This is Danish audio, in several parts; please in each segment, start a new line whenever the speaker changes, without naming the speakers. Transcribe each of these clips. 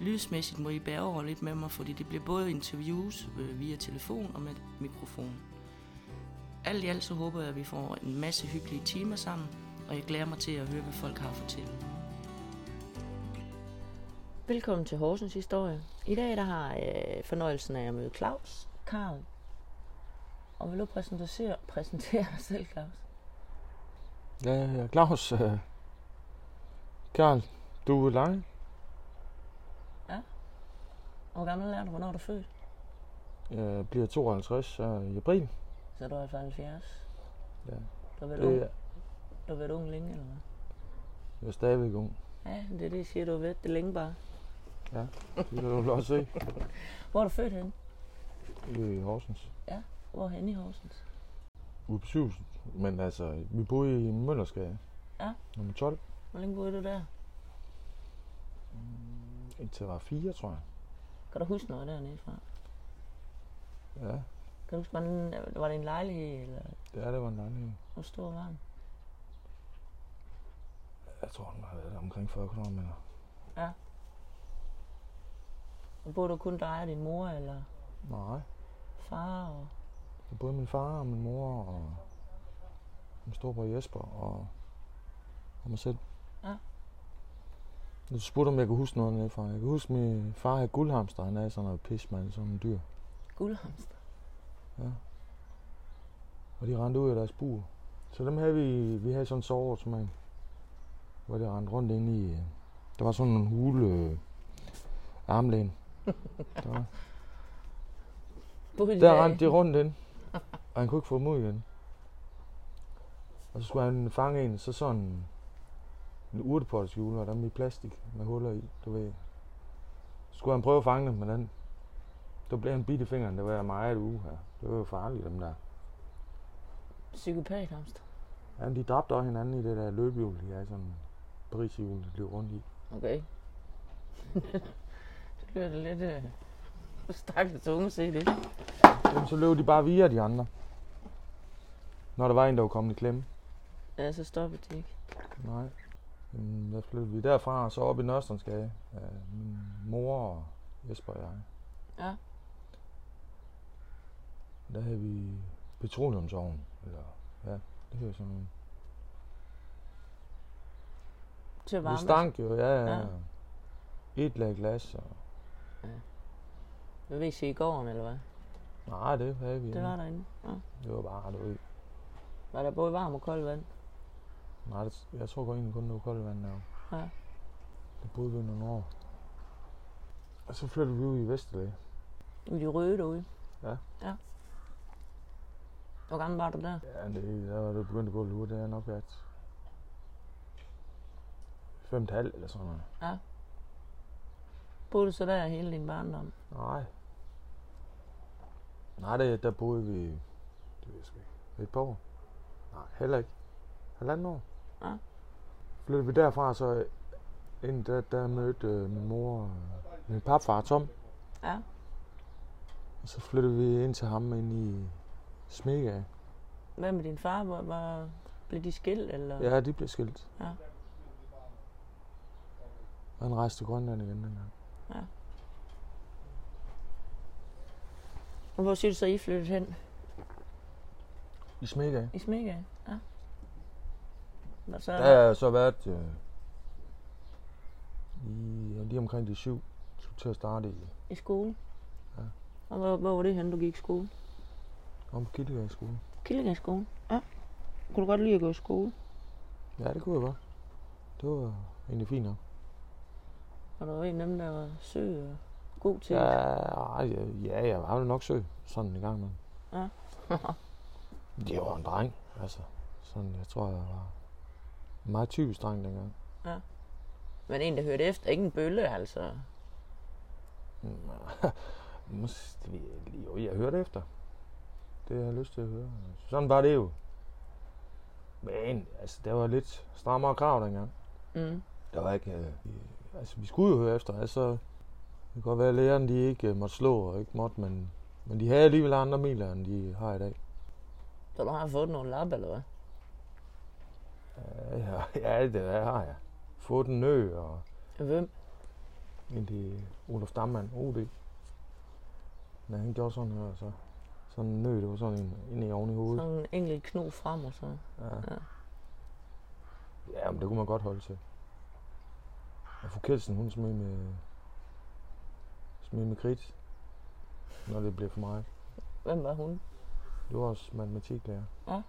Lydsmæssigt må I bære over lidt med mig, fordi det bliver både interviews øh, via telefon og med mikrofon. Alt i alt så håber jeg, at vi får en masse hyggelige timer sammen, og jeg glæder mig til at høre, hvad folk har at fortælle. Velkommen til Horsens Historie. I dag der har jeg fornøjelsen af at møde Claus, Karl. Og vil du præsentere, præsentere dig selv, Claus?
Ja, jeg hedder Claus. Øh, Karl, du er lang.
Hvor gammel er du? Hvornår er du født?
Jeg bliver 52 her i april.
Så er du 70.
Ja.
Du har været, ung.
Det er,
Du har været ung længe, eller hvad?
jeg er stadigvæk ung.
Ja, det er det, jeg siger, du har været det længe bare.
Det kan du vel også se.
Hvor er du født henne?
I Horsens.
Hvor hen i Horsens?
Ude på Syvsen. Men altså, vi boede i Møllerskade.
Ja.
Nummer 12.
Hvor længe boede du der?
Indtil jeg var 4, tror jeg.
Kan du huske noget dernede fra?
Ja,
Kan du huske, var det, var det en lejlighed, eller
det er det var en lejlighed.
hvor stor var den?
Jeg tror, den har været der omkring 40 kvadratmeter.
Og boede du kun dig og din mor, eller
Nej.
far? Og...
Der boede min far og min mor og min storebror Jesper og, og mig selv.
Ja.
Du spurgte, om jeg kunne huske noget nedefra. Jeg kan huske, at min far havde guldhamster. Han er sådan noget pis, mand. Sådan en dyr.
Guldhamster.
Og de rendte ud af deres bur. Så dem havde vi, vi havde sådan en soveautomat, hvor det rendte rundt ind i... øh, Der var sådan en hule øh, armlæn. Der, var-
Boede
der rendte de rundt ind, og han kunne ikke få dem ud igen. Og så skulle han fange en, så sådan en- en urtepotteskjule, og der med plastik med huller i, du ved. Så skulle han prøve at fange dem, men den, der blev han bidt i fingeren, det var jeg meget uge her. Det var jo farligt, dem der.
Psykopathamster.
Ja, men de dræbte også hinanden i det der løbehjul, de er sådan Paris-hjul, de løb rundt i.
Okay. det lyder da lidt... Øh... Stakkels unge, se det.
Jamen, så løb de bare via de andre. Når der var en, der var kommet i klemme.
Ja, så stoppede de ikke.
Nej. Jamen, der flyttede vi derfra, og så op i Nørstensgade. Ja, min mor og Jesper og jeg.
Ja.
Der havde vi petroleumsovn, eller ja, det hedder sådan noget.
Til at
Det
varme.
stank jo, ja, ja.
Ja.
ja. Et lag glas, og
Jeg vil ikke sige i gården, eller hvad?
nej, det havde vi.
Det
ikke.
var derinde. Ja.
det var bare, du ved.
Var der både varm og kold vand?
Nej, det, jeg tror godt egentlig kun, det var koldt vand der.
Ja.
Det boede vi nogle år. Og så flyttede vi ud i Vesterlæge.
I de røde derude?
Ja.
Ja. Hvor gammel var du der?
Ja, det, der var det begyndt at gå lidt hurtigt. Det er nok været fem til halv eller sådan noget.
Boede du så der hele din barndom?
Nej. Nej, det, der boede vi, det ved jeg sgu ikke, et par år. Nej, heller ikke. Halvanden år.
Ja.
Flyttede vi derfra, så ind der, der mødte øh, min mor, øh, min papfar Tom.
Ja.
Og så flyttede vi ind til ham ind i Smega.
Hvad med din far? Var, var, blev de skilt? Eller?
Ja, de blev skilt.
Ja.
Og han rejste til Grønland igen dengang.
Og hvor siger du så, I flyttede hen?
I Smega.
I Smega? Ja. Nå, så,
Der har jeg så været øh, i, ja, lige omkring de syv. Skulle til at starte i
I skole?
Ja.
Og hvor, hvor var det henne, du gik i skole?
om på Kildegade skole.
Kildegård skole? Ja. Kunne du godt lide at gå i skole?
Ja, det kunne jeg godt. Det var egentlig fint nok.
Og du var en af dem, der var sød og god til
Ja,
det.
ej, ja, ja, jeg var jo nok sø, sådan en gang med.
Ja.
det var en dreng, altså. Sådan, jeg tror, jeg var en meget typisk dreng dengang.
Men en, der hørte efter. Ikke en bølle, altså.
Mås- det ved jeg ikke lige. Jo, jeg hørte efter. Det jeg har lyst til at høre. Sådan var det jo. Men altså, der var lidt strammere krav dengang.
Mm.
Der var ikke... Øh, altså, vi skulle jo høre efter. Altså, det kan godt være, at lærerne de ikke øh, måtte slå og ikke måtte, men, men de havde alligevel andre miler, end de har i dag.
Så du har fået nogle lap, eller hvad?
Ja, ja, ja det har jeg. Fået en ø og
Hvem?
ind til Olof Dammann, OD. Når han gjorde sådan her, så sådan en nø, det var sådan en, ind i oven i hovedet.
Sådan en enkelt kno frem og så.
Ja.
Ja.
ja, men det kunne man godt holde til. Og fru Kelsen, hun smed med, smed med kridt, når det blev for meget.
Hvem var hun?
Det var også matematiklærer.
Ja.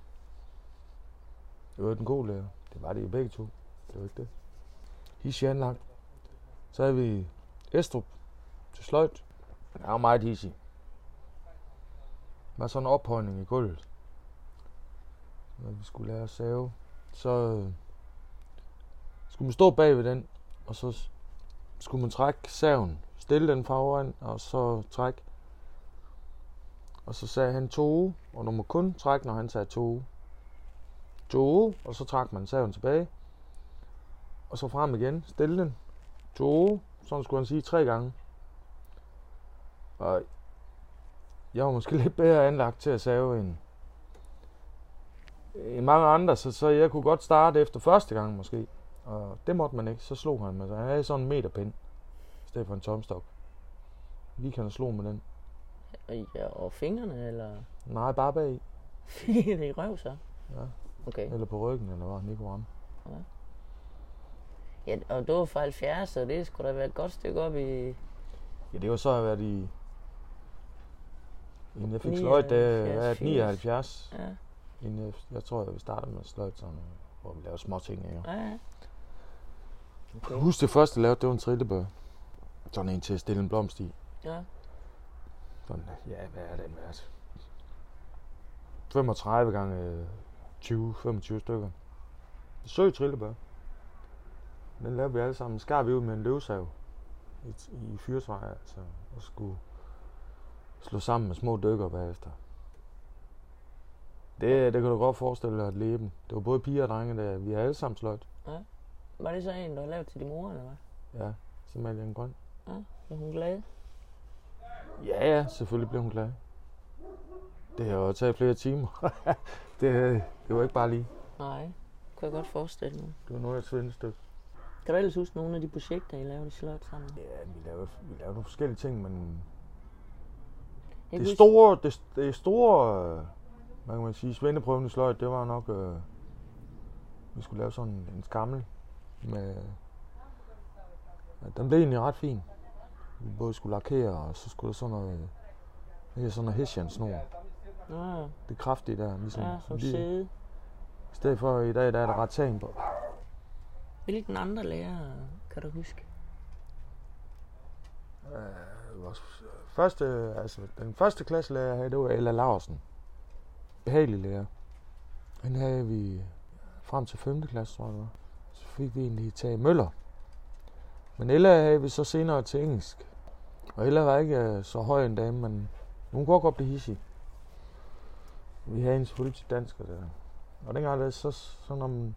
Det var en god lærer. Det var det jo begge to. Det var ikke det. Hissig anlagt. Så havde vi Estrup til sløjt. Han var meget hissig. Der var sådan en ophøjning i gulvet. Når vi skulle lære at save. Så øh, skulle man stå bag ved den, og så s- skulle man trække saven. Stille den foran, og så trække. Og så sagde han to, og du må kun trække, når han sagde to. To, og så trak man saven tilbage. Og så frem igen, stille den. To, sådan skulle han sige tre gange. Og jeg var måske lidt bedre anlagt til at save end, end mange andre, så, så jeg kunne godt starte efter første gang måske. Og det måtte man ikke, så slog han mig. Så han havde sådan en meterpind, i stedet for en tomstok. Lige kan han slog med den.
Ja, og fingrene, eller?
Nej, bare bag.
Fik I det i røv, så?
Ja.
Okay.
Eller på ryggen, eller hvad? Nico Ram.
Ja, og du var fra 70, så det skulle da være et godt stykke op i...
Ja, det var så at være i... Inden jeg fik
79,
sløjt, øh, da jeg var
80.
79.
Ja,
Inden jeg, øh, jeg tror, jeg startede med sløjt, sådan, øh, hvor vi lavede små ting. Jeg
ja, ja.
kan huske det første, jeg lavede, det var en trillebør. Sådan en til at stille en blomst i.
ja.
Sådan, ja, hvad er den værd? 35 gange øh, 20, 25 stykker. Søg trillebør. Den lavede vi alle sammen. Skar vi ud med en løvsav i, i fyrtøj, altså, og skulle slå sammen med små dykker bagefter. Det, det kan du godt forestille dig at leben. Det var både piger og drenge, der vi har alle sammen sløjt.
Var det så en, du har lavet til din mor, eller hvad?
Ja, simpelthen en grøn.
Var hun glad?
Ja, ja, selvfølgelig blev hun glad. Det har jo taget flere timer. det, det var ikke bare lige.
Nej, kunne jeg godt forestille mig.
Det var noget af et svendestykke.
Kan du ellers huske nogle af de projekter, I lavede i Slot sammen?
Ja, vi lavede, vi lavede nogle forskellige ting, men
Jeg
det
husker-
store, det, det store, øh, hvad kan man sige, svendeprøven i sløjt, det var nok, øh, vi skulle lave sådan en skammel med, ja, den blev egentlig ret fin. Vi både skulle lakere, og så skulle der sådan noget, det er sådan noget hessian snor.
Nå,
Det kraftige der, ligesom.
ja, som
lige-
sæde.
I stedet for i dag, der er der rattan på.
Hvilken andre lærer kan du huske?
Vores øh, første, altså, den første klasselærer, jeg havde, det var Ella Larsen. Behagelig lærer. Hende havde vi øh, frem til 5. klasse, tror jeg det var. Så fik vi egentlig Tage Møller. Men Ella havde vi så senere til engelsk. Og Ella var ikke øh, så høj en dame, men hun kunne godt blive hissig. Vi havde en selvfølgelig til dansk og det der. Og dengang er det så, så når, man,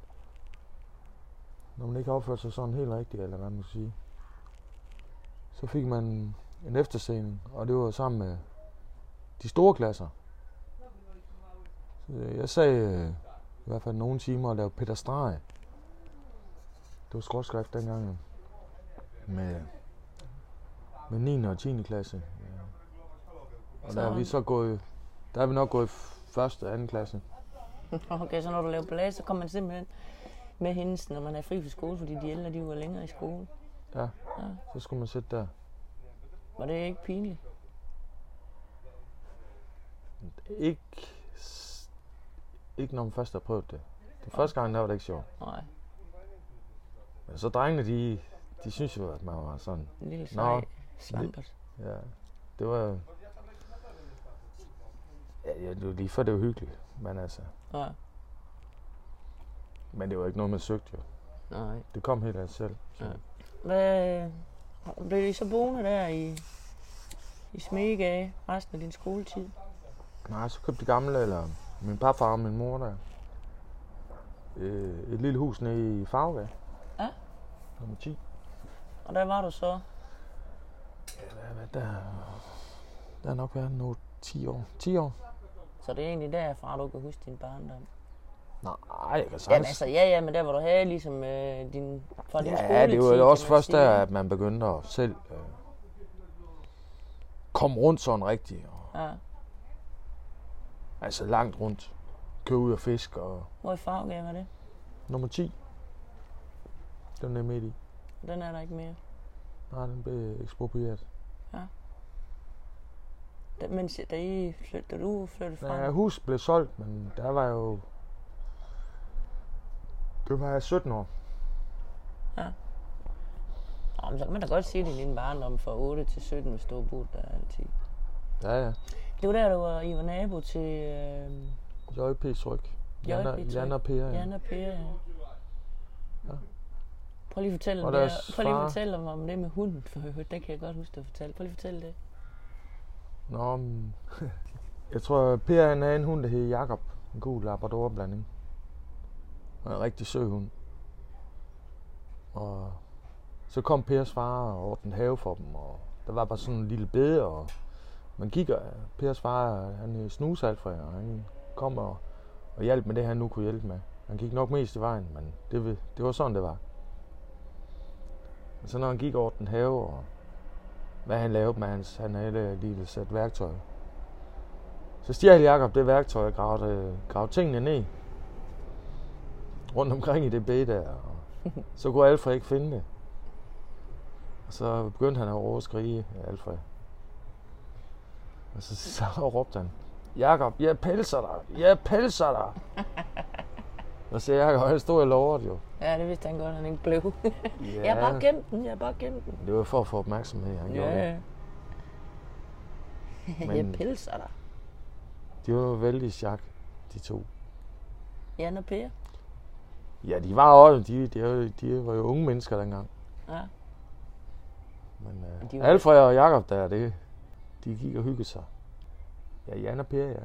når man ikke har opført sig sådan helt rigtigt, eller hvad man skal sige, så fik man en efterscene, og det var sammen med de store klasser. Så jeg sagde øh, i hvert fald nogle timer at lave Peter Streg. Det var skråskrift dengang jo. med, med 9. og 10. klasse. Og der er vi så gået, der er vi nok gået i første og anden klasse.
Okay, så når du laver ballade, så kommer man simpelthen med hendes, når man er fri fra skole, fordi de ældre, de var længere i skole.
Så skulle man sætte der.
Var det ikke pinligt?
Ikke, s- ikke når man først har prøvet det. Den første gang, der var det ikke sjovt.
Nej,
Men så drengene, de, de synes jo, at man var sådan.
en lille sej
Nå.
svampert.
Ja, det var... Ja, ja, det var lige før det var hyggeligt, men altså...
Ja,
Men det var ikke noget, man søgte jo.
nej.
Det kom helt af sig selv.
Hvad, blev I så boende der i, i smæk af resten af din skoletid.
Nej, så købte de gamle, eller min papfar og min mor der, øh, et lille hus nede i Farve.
Ja.
Nummer 10.
Og der var du så.
Ja, hvad der, der er nok været noget 10 år. 10 år?
Så det er egentlig derfra, du kan huske din barndom.
Nej, jeg kan
Jamen
sagtens.
altså, ja, ja, men der hvor du havde ligesom øh, din, fra din
Ja,
skoletid.
det var
kan
jo også
man
først
sige.
der, at man begyndte at selv øh, komme rundt sådan rigtigt. Og,
Ja.
altså langt rundt. Købe ud og fisk og
Hvor i Farve var det?
nummer 10. Den er midt i.
Den er der ikke mere.
Nej, den blev eksproprieret.
Da, men se, da, I flyt, da du flyttede fra,
Ja,
ja.
hus blev solgt, men der var jo... Det var jeg 17 år.
oh, så kan man da godt sige, at det er din barndom fra 8 til 17, hvis du har boet der altid.
Ja, ja.
Det var der, du var, I var nabo til øh,
JP-tryk.
JP Tryg.
Jan og Per, ja.
Jan og Per. Ja.
Ja.
Prøv lige at fortælle,
Og
om det her.
deres
Prøv lige
far.
at fortælle mig om det med hunden, for øvrigt. det kan jeg godt huske, du fortalte. Prøv lige at fortælle det.
Nå, men, jeg tror, Per han havde en hund, der hed Jakob. En god Labrador-blanding. Og en rigtig sød hund. Og så kom Pers far og ordnede have for dem, og der var bare sådan en lille bede, og man gik, og Pers far, han snusede alt fra jer, og han kom og, og hjalp med det, han nu kunne hjælpe med. Han gik nok mest i vejen, men det, ved- det var sådan, det var. Men så når han gik over den have, og hvad han lavede med hans, han havde øh, et lille sæt værktøj. Så stjal Jakob det værktøj og gravede, øh, gravede tingene ned rundt omkring i det bed der. Og så kunne Alfred ikke finde det. Og så begyndte han at overskrige Alfred. Og så, så råbte han, Jakob, jeg pelser dig, jeg pelser dig. Og så Jakob, han stod og lovede det jo.
Ja, det vidste han godt, han ikke blev. Ja. jeg har bare gemt den, jeg har bare gemt den.
det var for at få opmærksomhed, han gjorde det.
Ja,
Men-
jeg pelser dig.
De var vældig sjak, de to.
Jan og Per.
Ja, de var også, de, de, var jo- de var jo unge mennesker dengang.
Ja.
Men uh,
de
de
var-
Alfred og Jakob der, det, de gik og hyggede sig. Ja, Jan og Per, ja.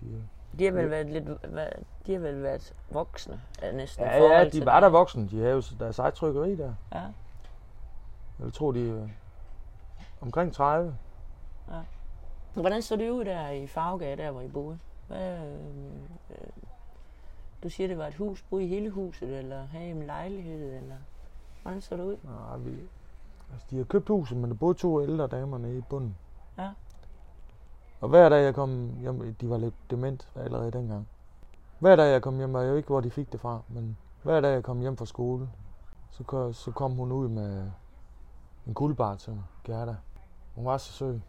De,
De har vel været lidt, hva- de har vel været voksne øh, næsten. i
ja, ja,
forhold
de
til
var
dig.
der voksne. De havde jo deres eget trykkeri der.
Ja.
Jeg tror, de øh, omkring 30.
Hvordan så det ud der i Farvegade, der hvor I boede? Hvad, øh, øh, du siger, det var et hus. Boede I hele huset, eller havde I en lejlighed? Eller? Hvordan så det ud?
Nej, vi, altså, de havde købt huset, men der boede to ældre damer nede i bunden.
Ja.
Og hver dag jeg kom hjem, de var lidt dement allerede dengang. Hver dag jeg kom hjem, og jeg ved ikke, hvor de fik det fra, men hver dag jeg kom hjem fra skole, så, ko- så kom hun ud med en guldbar til mig, Gerda. Hun var så sød.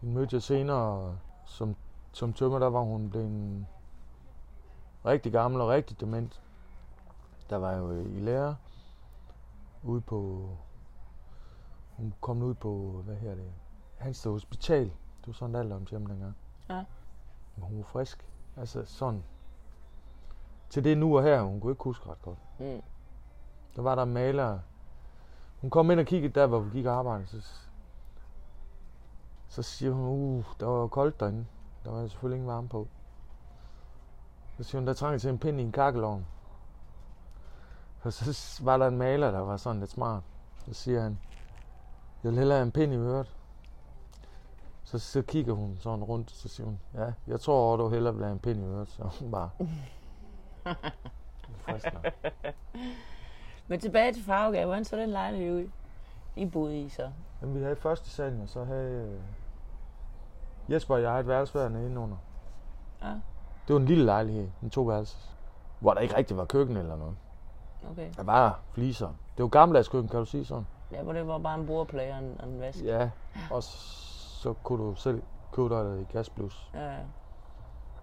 Hun mødte jeg senere, som, som tømmer, der var hun blevet rigtig gammel og rigtig dement. Der var jeg jo i lære ude på... Hun kom ud på, hvad her det? Hansted Hospital. Det var sådan et alderdomshjem dengang.
Ja.
Men hun var frisk. Altså sådan. Til det nu og her, hun kunne ikke huske ret godt.
Mm.
Der var der en maler. Hun kom ind og kiggede der, hvor vi gik og arbejdede. Så, så siger hun, uh, der var koldt derinde. Der var selvfølgelig ingen varme på. Så siger hun, der trænger til en pind i en kakkelovn. Og så var der en maler, der var sådan lidt smart. Så siger han, jeg vil hellere have en pind i øret. Så, så kigger hun sådan rundt, så siger hun, ja, jeg tror, at du hellere vil have en pind i øret. Så hun bare... Frisk nok.
Men tilbage til Farvegade, hvordan så den lejlighed ud? I boede i så.
Jamen, vi havde første salen, og så havde øh, Jesper og jeg et værelse hver nede indenunder.
Ja.
Det var en lille lejlighed, en to værelses, hvor der ikke rigtig var køkken eller noget.
Okay.
Der var fliser. Det var gammeldags køkken, kan du sige sådan?
Ja, hvor det var bare en bordplade og en, og en vask.
Ja, og så kunne du selv købe dig et gasblus.
Ja. ja.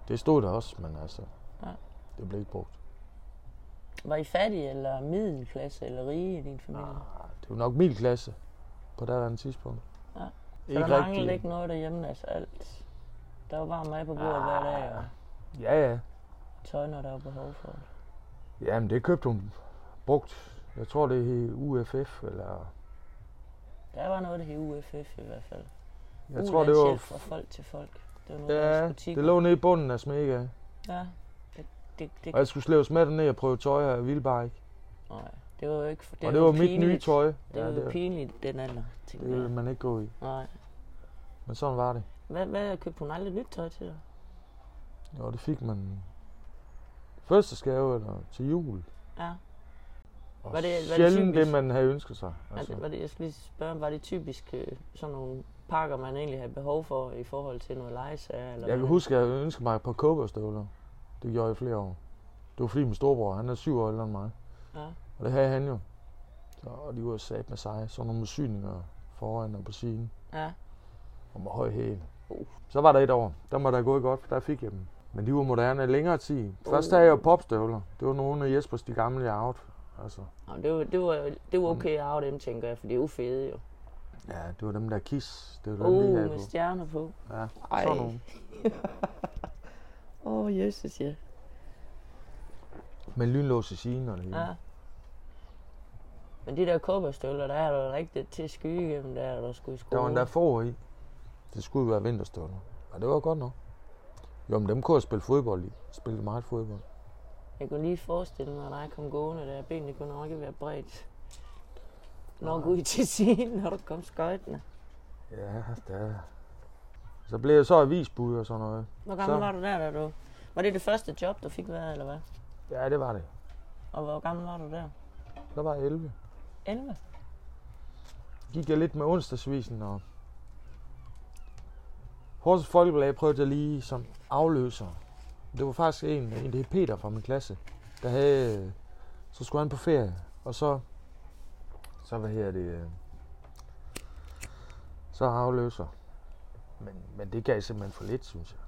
Det stod der også, men altså,
Ja.
det blev ikke brugt.
Var I fattige, eller middelklasse, eller rige i din familie? Nej.
Det var nok min klasse på det andet tidspunkt.
Ja. Så
Ikke
der manglede
rigtig.
ikke noget derhjemme, altså alt. Der var bare mad på bordet hver
Ah.
dag, og
Ja, ja.
tøj, når der var behov for det.
Jamen, det købte hun brugt. Jeg tror, det hed UFF, eller
Der var noget, der hed UFF i hvert fald.
Jeg tror, det var...
fra folk til folk. Det var nogle af
Ja,
hans butikker.
det lå nede i bunden af Smega.
Ja, det, det, det,
Og jeg skulle slæves med ned og prøve tøj her i Vildbark.
nej, det var jo ikke...
Det og det var mit
pinligt.
nye tøj.
Det
ja,
var
det,
jo pinligt, den alder,
det
tænkte
ville
jeg.
man ikke gå i.
Nej.
Men sådan var det.
Hvad, hvad købte hun aldrig nyt tøj til dig?
Og det fik man fødselsgave eller til jul.
Ja.
Og
Var det- var det
sjældent det,
typisk?
man havde ønsket sig.
Altså. Var det, jeg skal lige spørge, var det typisk øh, sådan nogle pakker, man egentlig havde behov for i forhold til noget lejesager? Eller
Jeg kan
hvad?
huske, at jeg ønskede mig et par kobberstøvler. Det gjorde jeg i flere år. Det var fordi min storbror, han er syv år ældre end mig.
Ja.
Og det havde han jo. Så, og de var sat med sig. Sådan nogle syninger foran og på siden.
Ja.
Og med høj hæl.
Uh.
Så var der et år. Der må der gå godt, for der fik jeg dem. Men de var moderne i længere tid. Først
Uh.
havde jeg jo popstøvler. Det var nogle af Jespers de gamle jeg out. Altså,
Nå, det, var, det, var, det var okay at arve dem, tænker jeg, for det er jo fede jo.
ja, det var dem der kiss. Det var dem, de
Uh,
havde
med
på.
stjerner på.
Ja,
Ej.
sådan nogle.
Åh, oh, Jesus, ja.
Med lynlås i siden og det hele.
ja. Men de der kobberstøvler, der er der rigtigt til at skyde igennem, der er der skulle i
Der
skole.
var endda forår i. Det skulle jo være vinterstøvler. Og det var godt nok. Jo, men dem kunne jeg spille fodbold i. Spillede meget fodbold.
Jeg kunne lige forestille mig, at jeg kom gående der. Benene kunne nok ikke være bredt. Nok ud til siden, når du kom skøjtende.
Ja, da. Så blev jeg så avisbud og sådan noget.
Hvor gammel
Så.
var du der, da du... Var det det første job, du fik været, eller hvad?
Ja, det var det.
Og hvor gammel var du der?
Der var jeg 11.
11?
Gik jeg lidt med onsdagsvisen og... Horsens Folkeblad prøvede jeg lige som afløser. Det var faktisk en, en der hed Peter fra min klasse, der havde... Så skulle han på ferie, og så... Så hvad her det... øh, Så afløser. Men, men det gav simpelthen for lidt, synes jeg.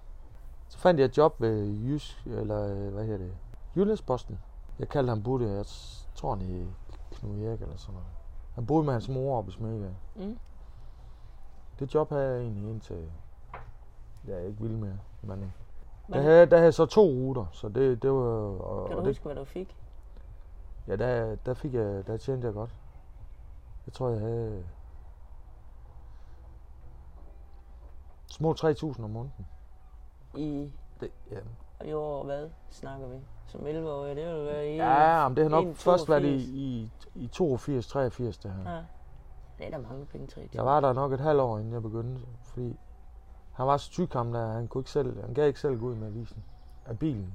Så fandt jeg et job ved Jysk, eller øh, hvad hedder det, Jyllandsposten. Jeg kaldte ham Butte, jeg s- tror han hed Knud Erik eller sådan noget. Han boede med hans mor oppe i Smega.
Mm.
Det job havde jeg egentlig indtil, jeg ikke ville mere. Men, øh,
Hvad
der,
det?
havde, der havde jeg så to ruter, så det, det var, øh, og,
Kan du
og det,
huske, hvad du fik?
ja, der, der, fik jeg, der tjente jeg godt. Jeg tror, jeg havde små 3.000 om måneden.
I,
Det, ja,
i år, hvad snakker vi? Som 11-årig, det ville være i...
Ja, men det har nok
81.
først været i, i, i 82, 83 det her. Ja.
ja. Det er da mange penge, 3
Jeg var der nok et halvt år, inden jeg begyndte, fordi han var så tyk ham der, han, kunne ikke selv, han gad ikke selv gå ud med avisen af bilen.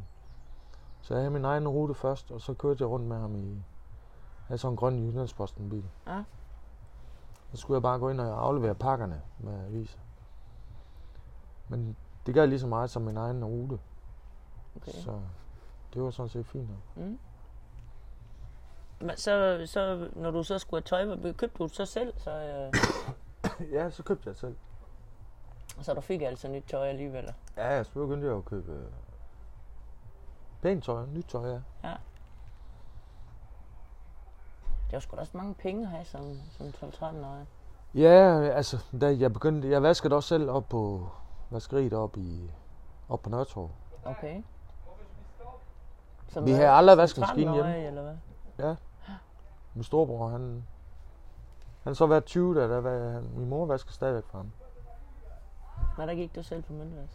Så jeg havde min egen rute først, og så kørte jeg rundt med ham i jeg havde sådan en grøn Jyllandsposten bil.
Ja.
Så skulle jeg bare gå ind og aflevere pakkerne med aviser. Men det gav lige så meget som min egen rute, okay.
okay.
så det var sådan set fint. nok.
Mm. Men så, så, når du så skulle have tøj, hvad købte du så selv? Så, øh,
Ja, så købte jeg selv.
så du fik altså nyt tøj alligevel.
Ja, ja, så begyndte jeg jo at købe øh, pænt tøj, nyt tøj, ja.
Det var sgu da også mange penge at have som, som 12-13-årig.
Ja, altså, da jeg begyndte, jeg vaskede også selv op på vaskeriet op i op på Nørretorv.
Okay. Som
Vi
hvad?
havde aldrig
Som
vaskemaskine
13-årig,
hjemme.
Eller hvad?
Min storebror, han, han har så været 20, da der var, han, min mor vasker stadigvæk for ham.
Nej, der gik du selv på myndighed.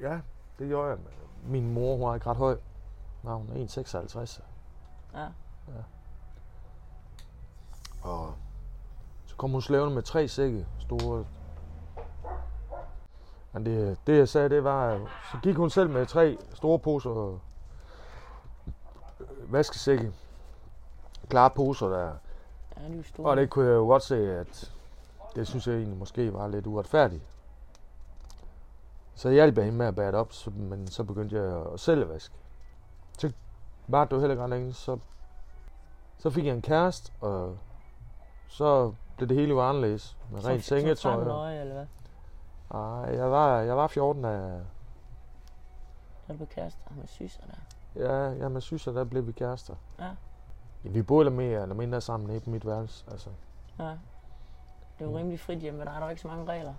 Ja, det gjorde jeg. Min mor, hun er ikke ret høj. Nej, hun er 1,56.
Ja.
Og så kom hun slævende med tre sække store. Men det, det jeg sagde, det var, så gik hun selv med tre store poser øh, vaskesække. Klare poser der.
Ja, de er jo store.
Og det kunne jeg jo godt se, at det synes jeg egentlig måske var lidt uretfærdigt. Så hjalp jeg hende med at bære det op, så- men så begyndte jeg at selv at vaske. Så var det jo heller ikke ret længe, så, så fik jeg en kæreste, og så blev det hele jo anderledes. Med
Som-
rent
som
sengetøj.
13-årig, eller hvad?
Nej, jeg var, jeg var 14 af...
Der blev kærester med syser der.
Ja, ja, man synes, at der blev vi kærester.
Ja.
ja vi boede lidt mere eller mindre sammen nede på mit værelse. Altså,
Ja. Det er
Mm.
jo rimelig frit hjemme, men der er der ikke så mange regler.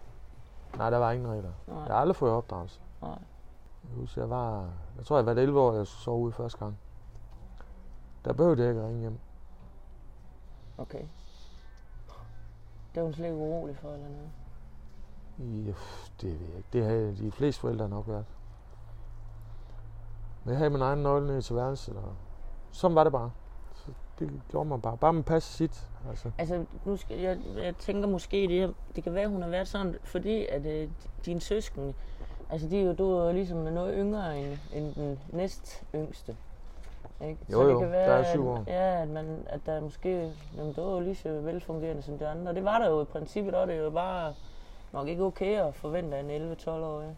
nej, der var ingen regler.
Nej.
Jeg har aldrig fået opdragelse.
Nej.
Jeg husker, jeg var... Jeg tror, jeg var 11 år, jeg sov ude første gang. Der behøvede jeg ikke at ringe hjem.
Okay. Det er hun slet ikke urolig for, eller noget.
I, pff, det ved jeg ikke. Det havde de fleste forældre nok været. Men jeg havde min egen nøgle ned til værelset, og sådan var det bare. Så det gjorde man bare. Bare man passede sit. Altså.
Altså, nu skal, jeg, jeg tænker måske, det, her- det kan være, hun har været sådan, fordi at øh, dine søskende, altså de, er jo- du er jo ligesom noget yngre end, end den næst yngste. Ikke?
Jo, jo, der er syv år.
At, ja, at, man, at der er måske, jamen, det var jo lige så velfungerende som de andre. Og det var der jo i princippet, og det er jo bare nok ikke okay at forvente af en 11-12-årig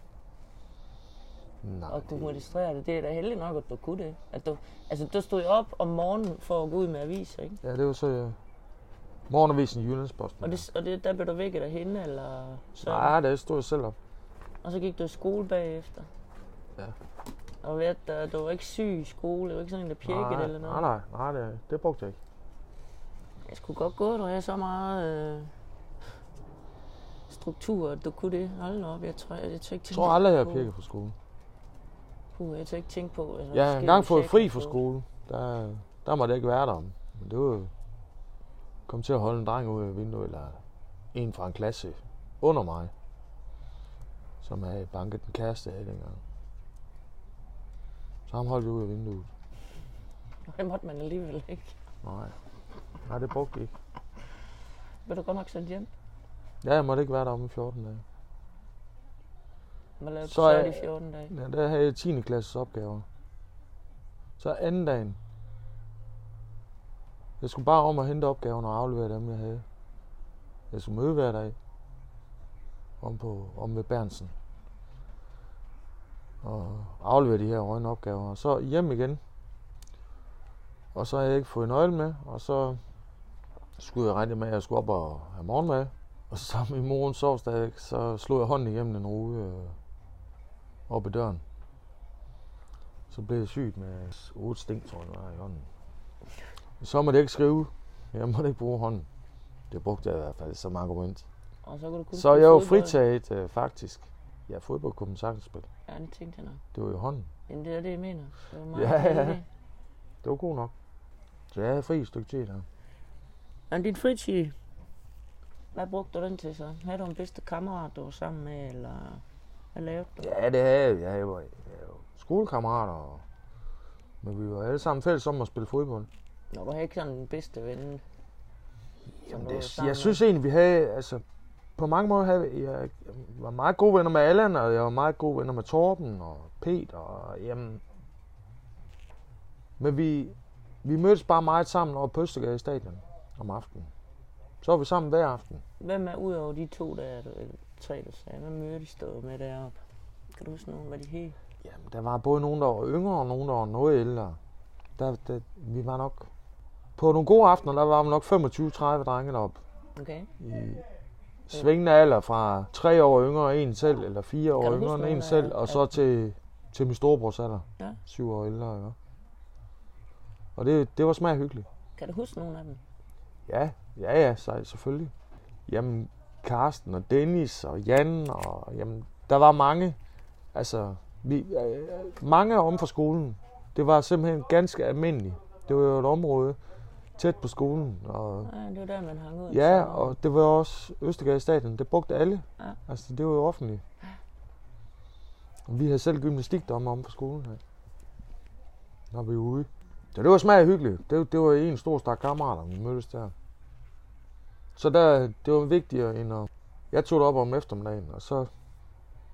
Nej,
at kunne
det-
registrere det. Det er da heldigt nok, at du kunne det. At du, altså, du stod jo op om morgenen for at gå ud med aviser, ikke?
Ja, det var så øh, morgenavisen i Jyllandsposten.
Og, det, og det, der blev du vækket af hende, eller sådan?
Nej, det stod jeg selv op.
Og så gik du i skole bagefter.
Ja.
Og ved, at øh, du var ikke syg i skole, det var ikke sådan en, der pjekkede
nej,
eller noget.
Nej, nej, nej det, det brugte jeg ikke.
Jeg skulle godt gå, når jeg så meget øh, struktur, at du kunne det. Hold nu op, jeg tror, jeg, jeg tør ikke tænke
Jeg tror aldrig, jeg har
på-
pirket på skole.
Puh, jeg tør ikke tænke på. Altså,
Jeg har
forskellige
engang fået fri
checker
fra
på.
skole. Der, der måtte jeg ikke være der om. Men det var jo- kom til at holde en dreng ud af vinduet, eller en fra en klasse under mig, som havde banket en kæreste af dengang. Så ham holdt jeg ud af vinduet.
Det måtte man alligevel ikke.
Nej, nej det brugte jeg ikke.
Blev du godt nok sendt hjem?
Ja, jeg måtte ikke være der om i 14 dage.
Man lavede
Så
så,
er-
øh, i 14 dage.
Ja, der havde jeg 10. klasses opgaver. Så anden dagen. Jeg skulle bare om at hente opgaverne og aflevere dem, jeg havde. Jeg skulle møde hver dag. Om, på, om ved Bernsen. Og aflevere de her røgne opgaver. Og så hjem igen. Og så havde jeg ikke fået nøglen med. Og så skulle jeg regne med, at jeg skulle op og have morgenmad. Og så min mor hun sov stadigvæk, så slog jeg hånden igennem den rude. Øh, op ad døren. Så blev jeg syg med otte stink, tror jeg, det var i hånden. Så måtte jeg ikke skrive. Jeg måtte ikke bruge hånden. Det brugte jeg i hvert fald som argument.
Og så kunne du kun
Så jeg var
var
fritaget øh, faktisk. Ja, fodbold kunne man sagtens spille.
Ja, det tænkte jeg nok.
Det var jo hånden.
Jamen, det er det, jeg mener. Det var meget
Ja, ja.
heldigt.
Det var god nok. Så jeg havde fri et stykke tid der.
Men din fritid, hvad brugte du den til så? Havde du en bedste kammerat, du var sammen med, eller hvad lavede du?
Ja, det havde jeg. Jeg havde jo- jeg havde jo skolekammerater. og- Men vi var alle sammen fælles om at spille fodbold.
Når du havde ikke sådan en bedste ven, som
Jamen,
du var
det,
sammen
jeg
med.
synes egentlig, vi havde, altså, på mange måder havde vi- jeg, jeg var meget gode venner med Allan, og jeg var meget gode venner med Torben og Peter, og jamen, men vi, vi mødtes bare meget sammen over på Østergade stadion om aftenen. Så var vi sammen hver aften.
Hvem er ud over de to der, du, eller tre, du sagde? Hvem møder de stod med deroppe? Kan du huske nogen, hvad de hed?
Jamen, der var både nogen, der var yngre, og nogen, der var noget ældre. Der, der, vi var nok... På nogle gode aftener, der var vi nok 25-30 drenge deroppe.
Okay.
i svingende alder fra tre år yngre end en selv, eller fire
Kan
år
du huske
yngre end
nogen,
en
der
selv,
er-
og så til, til min storebrors alder,
Ja.
syv år ældre. Ikke? Og det, det var smag hyggeligt.
Kan du huske nogen af dem?
Ja, ja, ja, så, selvfølgelig. Jamen, Karsten og Dennis og Jan, og jamen, der var mange, altså, vi, øh, mange om fra skolen. Det var simpelthen ganske almindeligt. Det var jo et område tæt på skolen, og
Nej, det var der, man hang ud. om
Ja,
sommeren.
og det var også Østergade Stadion. Det brugte alle.
Ja.
Ja. Altså, det var jo offentligt. Og vi havde selv gymnastikdommer om på skolen her. Når vi var ude. Så det var smag hyggeligt. Det, det var en stor stak kammerater, vi mødtes der. Så der, det var vigtigere end at... Jeg tog det op om eftermiddagen, og så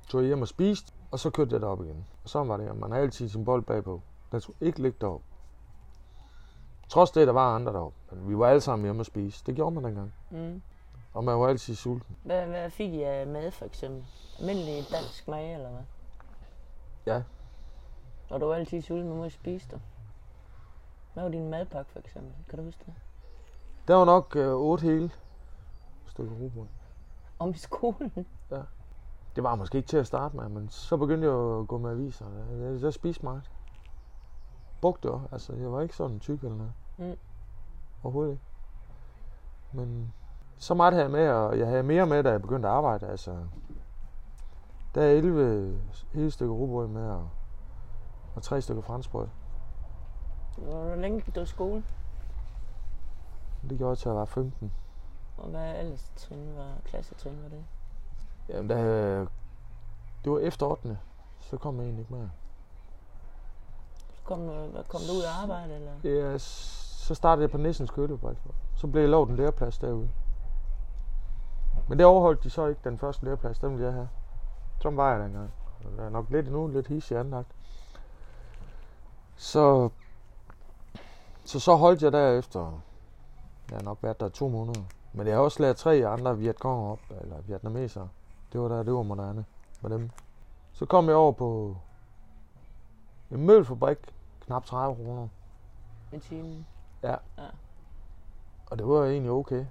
tog jeg hjem og spiste, og så kørte jeg derop igen. Og sådan var det, og man har altid sin bold bagpå. Den skulle ikke ligge derop. Trods det, der var andre derop. Men vi var alle sammen hjemme og spise. Det gjorde man dengang.
Mm.
Og man var altid sulten.
Hvad, hvad fik I af mad, for eksempel? Almindelig dansk mad, eller hvad?
Ja.
Og du var altid sulten, men må spise dig. Hvad var din madpakke, for eksempel? Kan du huske det?
Der var nok øh, otte hele stykker rugbrød.
Om i skolen?
Det var måske ikke til at starte med, men så begyndte jeg jo at gå med aviser. Jeg, jeg, jeg spiste meget. Brugte det også. Altså, jeg var ikke sådan tyk eller noget.
Mm.
Overhovedet ikke. Men så meget havde jeg med, og jeg havde mere med, da jeg begyndte at arbejde. Altså, der er 11 hele stykker rugbrød med, og, og tre stykker franskbrød.
Hvor længe gik du i skole?
Det gjorde jeg til at jeg var 15.
Og hvad ellers trin var, klassetrin var det?
Jamen, da, det var efter 8. Så kom jeg egentlig ikke mere.
Kom, øh, hvad- kom du ud og arbejde, eller?
Ja, s- så startede jeg på Nissens Kølebrejde. Så blev jeg lovet en læreplads derude. Men det overholdt de så ikke, den første læreplads. Den ville jeg have. Sådan var jeg dengang. Jeg er nok lidt endnu, lidt hissig anlagt. Så, så så holdt jeg derefter. Jeg har nok været der i to måneder. Men jeg har også lært tre andre vietkonger op, eller vietnamesere. Det var der, det var moderne med dem. Så kom jeg over på en møbelfabrik, knap 30 kroner.
I timen?
Og det var egentlig okay.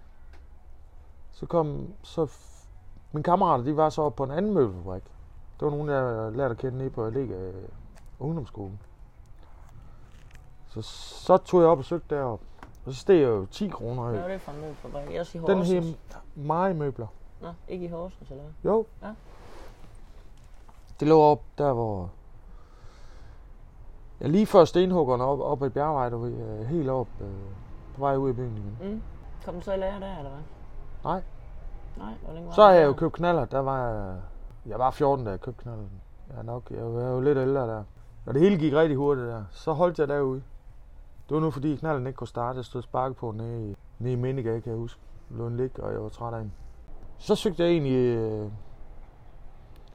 Så kom, så f- mine kammerater, de var så oppe på en anden møbelfabrik. Det var nogen, jeg lærte at kende nede på Allega øh, ungdomsskolen. Så, så tog jeg op og søgte derop. Og så steg jeg jo 10 kroner.
Hvad
i.
var det for en møbelfabrik? Også i
Den
Horsens?
her meget møbler.
Nå, ikke i Horsens, eller hvad?
Jo.
Ja.
Det lå op der, hvor... Ja, lige før stenhuggerne op, op i bjergvej, du ved, øh, helt op øh, på vej ud i byen igen.
Mm. Kom du så i lære der, eller hvad?
Nej.
Nej, hvor længe var
Så har
du
jeg jo
der?
købt knaller. Der var jeg... Jeg var 14, da jeg købte knaller. Jeg er nok... Jeg var jo lidt ældre der. Og det hele gik rigtig hurtigt der. Så holdt jeg derude. Det var nu fordi knallen ikke kunne starte. Jeg stod og sparke på nede, i- nede i Mindegade, kan jeg huske. Lå en lig, og jeg var træt af hende. Så søgte jeg egentlig øh,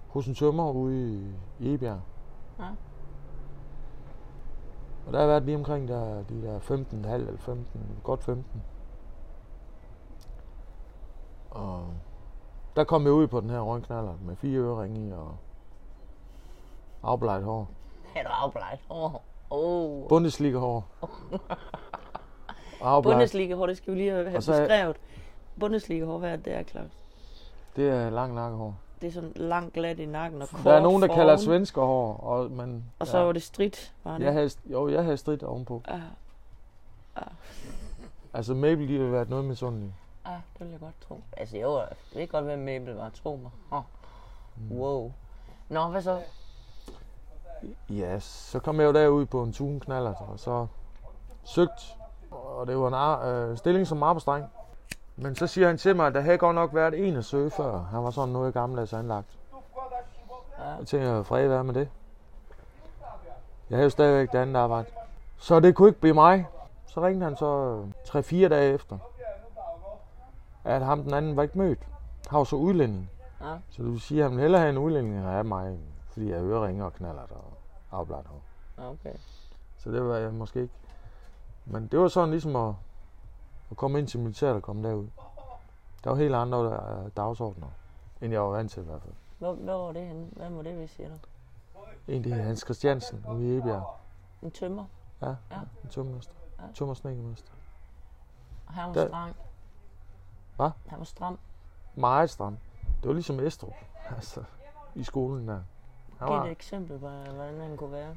hos en tømmer ude i- i Ebjerg.
Ja.
Og der har jeg været lige omkring der, de der 15,5 eller 15, godt 15. Og der kom jeg ud på den her røgknaller med fire øreringe i og afbleget hår.
Er du afbleget? Åh, oh. oh.
Bundesliga hår. afbleget.
Bundesliga, hvor det skal vi lige have
Og så-
beskrevet. Bundesliga, hvor hvad det er, Claus?
Det er lang nakkehår.
Det er sådan langt glat i nakken og kort
Der er nogen, der
foroven,
kalder svensker hår, og, men
Og så
ja,
var det stridt, var det? Ah.
jeg havde, jo, jeg havde stridt ovenpå.
Ja,
Altså Mabel, de har været noget med sådan
ja, Ah, det ville jeg godt tro. Altså jo, det kan godt være, Mabel var, tro mig. Oh.
Mm.
Wow. Nå, hvad så?
Ja, så kom jeg jo derud på en tunenknaller, og så søgt, og det var en ar- øh, stilling som arbejdsdreng. Men så siger han til mig, at der havde godt nok været en at søge før. Han var sådan noget gammeldags anlagt. Jeg tænker, fred være med det. Jeg havde jo stadigvæk det andet arbejde. Så det kunne ikke blive mig. Så ringte han så øh, 3-4 dage efter, at ham den anden var ikke mødt. Han var så udlænding.
Ja.
Så du siger, at han vil hellere have en udlænding end at have mig, fordi jeg hører ringer og knaller og afbladet hår.
Nå, Okay.
Så det var jeg måske ikke. Men det var sådan ligesom at, at komme ind til militæret og komme derud. Der var helt andre øh, dagsordner, end jeg var vant til i hvert fald.
Hvor, hvor var det henne? Hvad må det være, siger du?
En det er Hans Christiansen ude i Ebjerg.
En tømmer.
Ja,
Ja.
en tømmermester.
Ja.
Tømmersnækkemester.
Og han var
Der-
streng.
Hva?
Han var stram.
Meget stram. Det var ligesom Estrup, altså, i skolen der. Han
Giv et
var,
eksempel på, hvordan han kunne være.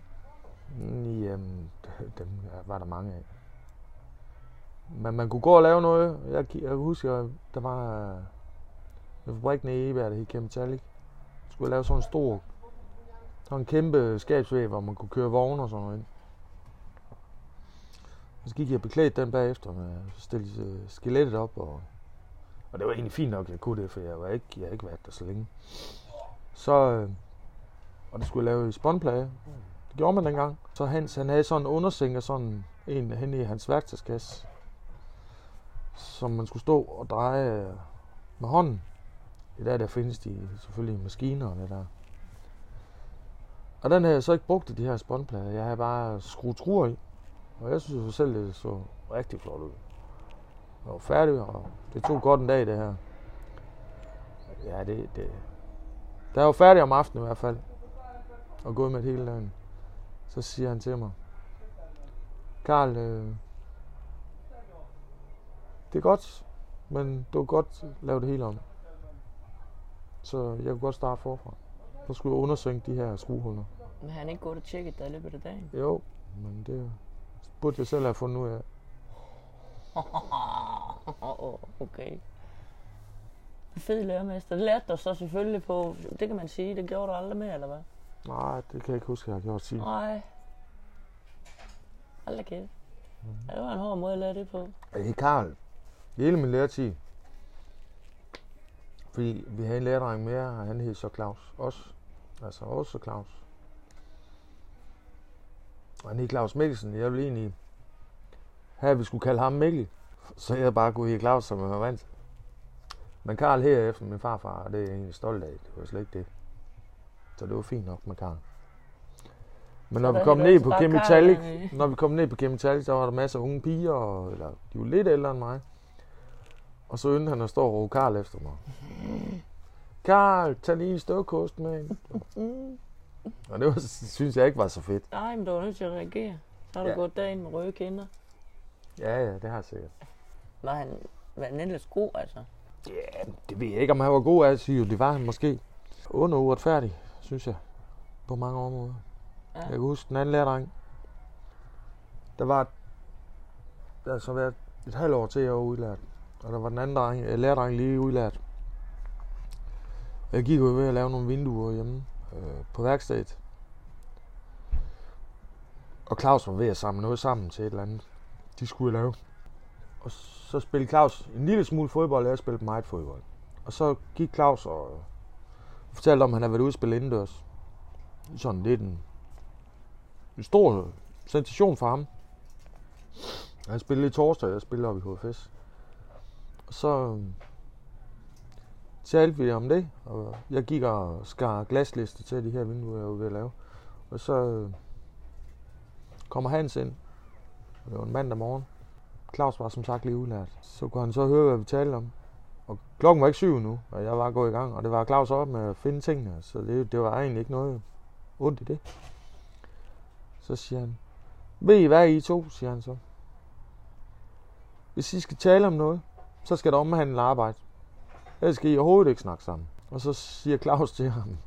Mm, jamen, dem var der mange af. Men man kunne gå og lave noget. Jeg, ki- jeg husker, der var øh, en fabrik nede i Eberg, der hed Chemtalik. Skulle jeg lave sådan en stor, sådan en kæmpe skabsvæg, hvor man kunne køre vogne og sådan noget ind. Og så gik jeg beklædt den bagefter, med, så stillede øh, skelettet op, og, og det var egentlig fint nok, at jeg kunne det, for jeg var ikke, jeg havde ikke været der så længe. Så, øh, og det skulle jeg lave i spåndplade, det gjorde man dengang. Så Hans, han havde sådan en undersænker, sådan en hen i hans værktøjskasse, som man skulle stå og dreje øh, med hånden. I dag der findes de selvfølgelig i maskiner og det der. Og den havde jeg så ikke brugt i de her spåndplader. Jeg havde bare skruet truer i. Og jeg synes jo selv, det så rigtig flot ud. Jeg var færdig, og det tog godt en dag, det her. Ja, det... det. Da jeg var færdig om aftenen i hvert fald, og gået med det hele dagen, så siger han til mig, Karl, øh, det er godt, men du kan godt lave det hele om. Så jeg kunne godt starte forfra. Så skulle jeg undersøge de her skruehuller.
Men han er ikke gået og tjekket dig i løbet af dagen.
Jo, men det burde jeg selv have fundet ud af.
Åh, okay. Fed lærermester. Det lærte du så selvfølgelig på. Det kan man sige. Det gjorde du aldrig mere, eller hvad?
Nej, det kan jeg ikke huske, jeg har gjort siden.
Nej. Aldrig kæft. Ja, det var en hård måde at lære det på.
Hey Karl, i hele min læretid, Fordi vi havde en lærdreng mere, og han hed så Claus også. Altså også Claus. Og han hed Claus Mikkelsen. Jeg ville egentlig have, at vi skulle kalde ham Mikkel. Så jeg bare kunne hedde Claus, som jeg var vant til. Men Karl her efter min farfar, og det er jeg egentlig stolt af. Det var slet ikke det. Så det var fint nok med Karl. Men når
der
vi kom
hedder det
ned
altså
på
bare Carl,
Chemitalik,
eller-
når vi kom ned på Chemitalik, der var der masser af unge piger, og, eller de var lidt ældre end mig. Og så yndte han at stå og råbe Karl efter mig. Karl, tag lige en støvkost med en. Og det var, synes jeg ikke var så fedt.
Nej, men du var nødt til at reagere. Så har du
Ja.
ja. gået derind med røde kinder.
Ja, ja, det har jeg sikkert.
Var han, var han ellers god, altså?
Ja, det ved jeg ikke, om han var god af at sige. Det var han måske. Under uretfærdig, synes jeg. På mange områder.
Ja.
Jeg kan huske den anden lærdreng. Der var... Der havde så været et halvt år til, jeg var udlært. Og der var den anden dreng, øh, lærdreng lige udlært. Jeg gik jo ved at lave nogle vinduer hjemme øh, på værkstedet. Og Claus var ved at samle noget sammen til et eller andet, de skulle lave. Og så spillede Claus en lille smule fodbold, og jeg spillede meget fodbold. Og så gik Claus og øh, fortalte om, at han havde været ude at spille indendørs. Sådan lidt en en stor sensation for ham. Han spillede i torsdag, jeg spillede op i HFS. Og så øhm, talte vi om det, og jeg gik og skar glasliste til de her vinduer, jeg var ved at lave. Og så øh, kommer Hans ind, og det var en mandag morgen. Claus var som sagt lige udlært. Så kunne han så høre, hvad vi talte om. Og klokken var ikke syv nu, og jeg var gået i gang, og det var Claus op med at finde tingene, så det, det var egentlig ikke noget ondt i det. Så siger han, ved I hvad I to, siger han så. Hvis I skal tale om noget, så skal der omhandle arbejde. Ellers skal I overhovedet ikke snakke sammen. Og så siger Claus til ham,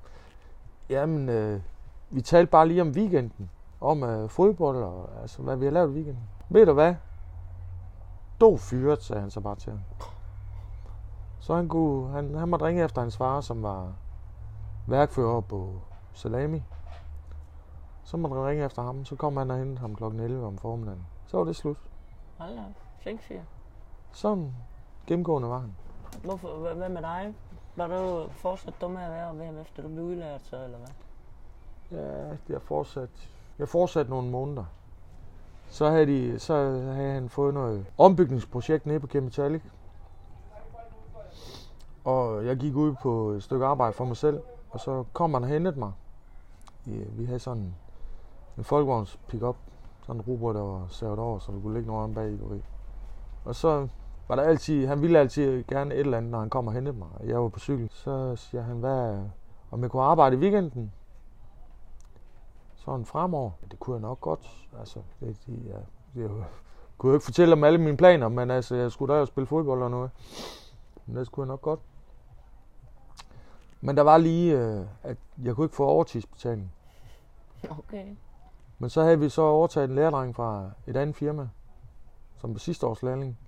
jamen, øh, vi talte bare lige om weekenden, om øh, fodbold og altså, hvad vi har lavet i weekenden. Ved du hvad? Du er fyret, sagde han så bare til ham. Så han, kunne, han, han måtte ringe efter hans far, som var værkfører på Salami. Så måtte man ringe efter ham, så kom han og hentede ham kl. 11 om formiddagen. Så var det slut.
Hold da, op. flink fyr.
Sådan gennemgående var han.
Hvorfor, hva- hvad med dig? Var du fortsat dum med at være ved ham, efter du blev udlært så, eller hvad?
Ja, jeg fortsatte jeg fortsat nogle måneder. Så havde, de, så havde han fået noget ombygningsprojekt nede på Kemetalik. Og jeg gik ud på et stykke arbejde for mig selv, og så kom han og hentede mig. Ja, vi havde sådan en folkevogns pickup, sådan en robot, der var savet over, så du kunne ligge noget om bag i, du ved. Og så var der altid, han ville altid gerne et eller andet, når han kom og hentede mig. Jeg var på cykel. Så siger han, hvad, om jeg kunne arbejde i weekenden? sådan fremover. Det kunne jeg nok godt. Altså, det, det, jeg, det, jeg kunne jo ikke fortælle om alle mine planer, men altså, jeg skulle da jo spille fodbold og noget. Men det skulle jeg nok godt. Men der var lige, øh, at jeg kunne ikke få overtidsbetaling.
Okay.
Men så havde vi så overtaget en lærdreng fra et andet firma, som var sidste års lærling.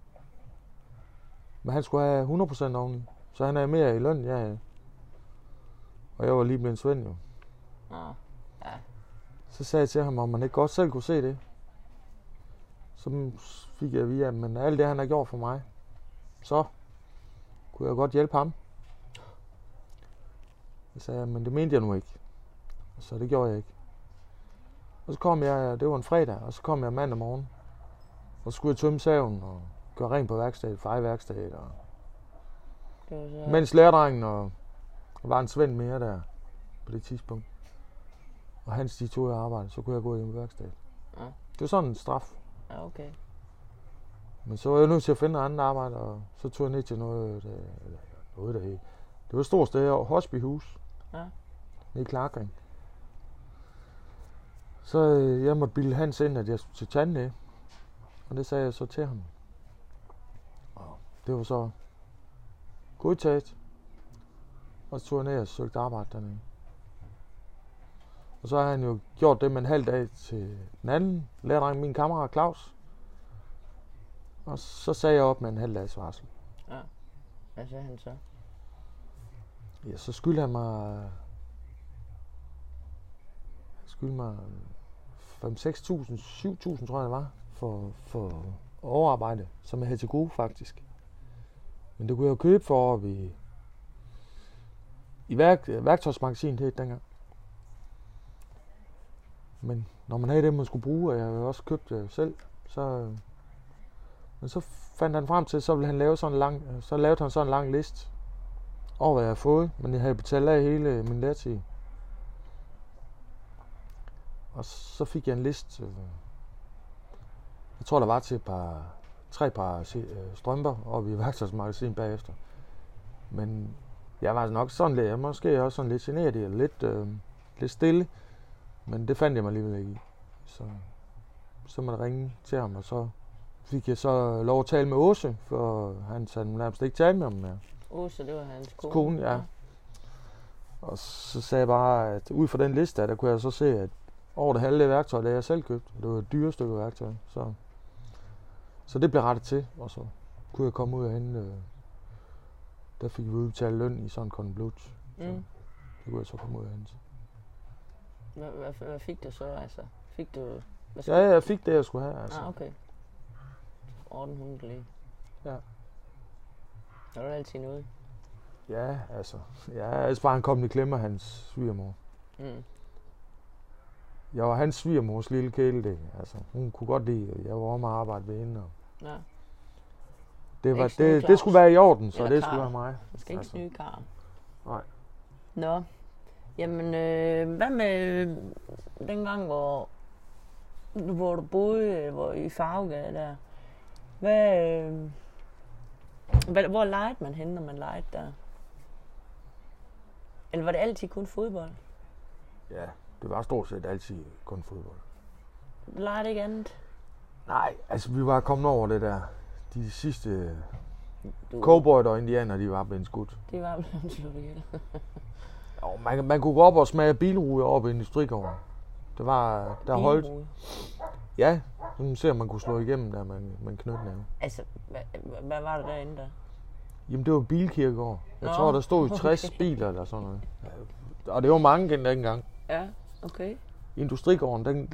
Men han skulle have 100% oveni, så han er mere i løn, ja, ja. Og jeg var lige blevet svend, jo.
Nå.
Så sagde jeg til ham, om man ikke godt selv kunne se det. Så fik jeg at vide, at men alt det, han har gjort for mig, så kunne jeg godt hjælpe ham. Jeg sagde, men det mente jeg nu ikke. Så det gjorde jeg ikke. Og så kom jeg, det var en fredag, og så kom jeg mandag morgen. Og så skulle jeg tømme saven og gøre rent på værkstedet, feje værkstedet. Og...
Det var så...
Ja. Mens lærdrengen og der var en svend mere der på det tidspunkt. Og hans de tog i arbejde, så kunne jeg gå hjem i værkstedet.
Ja.
Det var sådan en straf.
Ja, okay.
Men så var jeg nødt til at finde noget andet arbejde, og så tog jeg ned til noget, der, eller noget der hed. Det var et stort sted her, Hosbyhus.
Ja.
Nede i Klarkring. Så øh, jeg måtte bilde Hans ind, at jeg skulle til tandlæge. Og det sagde jeg så til ham. Og det var så godtaget. Og så tog jeg ned og søgte arbejde dernede. Og så har han jo gjort det med en halv dag til den anden lærerdreng, min kammerat Claus. Og så sagde jeg op med en halv dags varsel.
Hvad sagde han så?
Ja, så skyldte han mig... Han skyldte mig 5-6.000, 7.000 tror jeg det var, for, for overarbejde, som jeg havde til gode faktisk. Men det kunne jeg jo købe for op i i værk, værktøjsmagasinet hed det dengang. Men når man havde det, man skulle bruge, og jeg havde også købt det selv, så... øh, Men så fandt han frem til, så ville han lave sådan en lang, øh, så lavede han sådan en lang liste over, hvad jeg havde fået, men jeg havde betalt af hele min lærtid. Og så fik jeg en liste, øh, jeg tror der var til et par, tre par se- øh, strømper oppe i værktøjsmagasinet bagefter. Men jeg var nok sådan lidt, jeg måske også sådan lidt generet i, og lidt, øh, lidt stille, men det fandt jeg mig alligevel ikke i. Så, så måtte jeg ringe til ham, og så fik jeg så lov at tale med Åse, for han sagde han nærmest ikke tale med ham mere.
Åh, så det var hans kone.
Kone, ja. Og så sagde jeg bare, at ud fra den liste der, der kunne jeg så se, at over det halve af værktøjet, det havde jeg selv købt. Det var et dyre stykke værktøj, så, så det blev rettet til, og så kunne jeg komme ud af hende. Øh, der fik vi udbetalt løn i sådan en konvolut.
Mm.
Det kunne jeg så komme ud af hende. til.
Hvad, hvad, hvad fik du så, altså? Fik du... Hvad
Ja, jeg fik det, jeg skulle have.
Altså.
Altså.
Ah, okay. 1800 lige.
Ja.
Der var altid noget.
Ja, altså. Ja, ellers var han kommet i klemme af hans svigermor.
Mm.
Jeg var hans svigermors lille kæledæk. Altså, hun kunne godt lide, at jeg var om at arbejde ved hende. Og
Ja,
det, var,
Ikke sådan
det, det
Claus.
skulle være i orden, så
Eller
det skulle være
Karl.
mig.
man skal ikke
Altså.
snyde karen.
Nej.
Nå. Jamen, øh, hvad med øh, dengang, hvor, hvor du boede øh, hvor, i Farvegade der? Hvad, øh, hvad, hvor legede man henne, når man legede der? Eller var det altid kun fodbold?
Ja, det var stort set altid kun fodbold.
Legede ikke andet?
Nej, altså vi var kommet over det der. De sidste øh,
Du,
cowboy og indianer, de var blevet skudt.
Det var blevet slået ihjel.
Og man, man kunne gå op og smage bilruder op i industrigården. Det var, der holdt,
Bilrude.
ja, nu ser man kunne slå igennem der, man, man knytnæve.
Altså, hvad, hvad- hvad var det derinde der?
Jamen det var bilkirkegård. Jeg
Nå,
tror, der stod i 60
okay.
biler eller sådan noget. Og det var mange gen- dengang.
Ja, okay.
Industrigården, den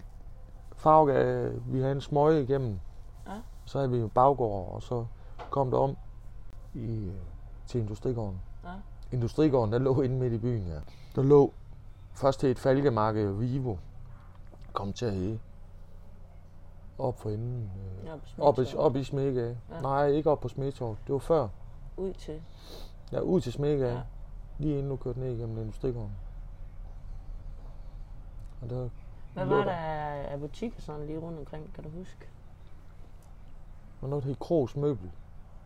farve, vi havde en smøge igennem.
Ja.
Så havde vi en baggård, og så kom der om i, øh, til Industrigården.
Ja.
Industrigården, der lå inde midt i byen, ja. Der lå først til et falkemarked, Vivo, kom til at hedde. Op for enden. Øh,
Nå, på
op, i,
Smedsholm.
op i Smegage.
Ja.
Nej, ikke op på Smedtorv. Det var før.
Ud til.
Ja, ud til Smegage.
Ja.
Ja. Lige inden du kørte ned igennem Industrigården. Og der
Hvad
Lå
var
der.
der af af butikker sådan lige rundt omkring, kan du huske?
var noget, der hed Krogs Møbel.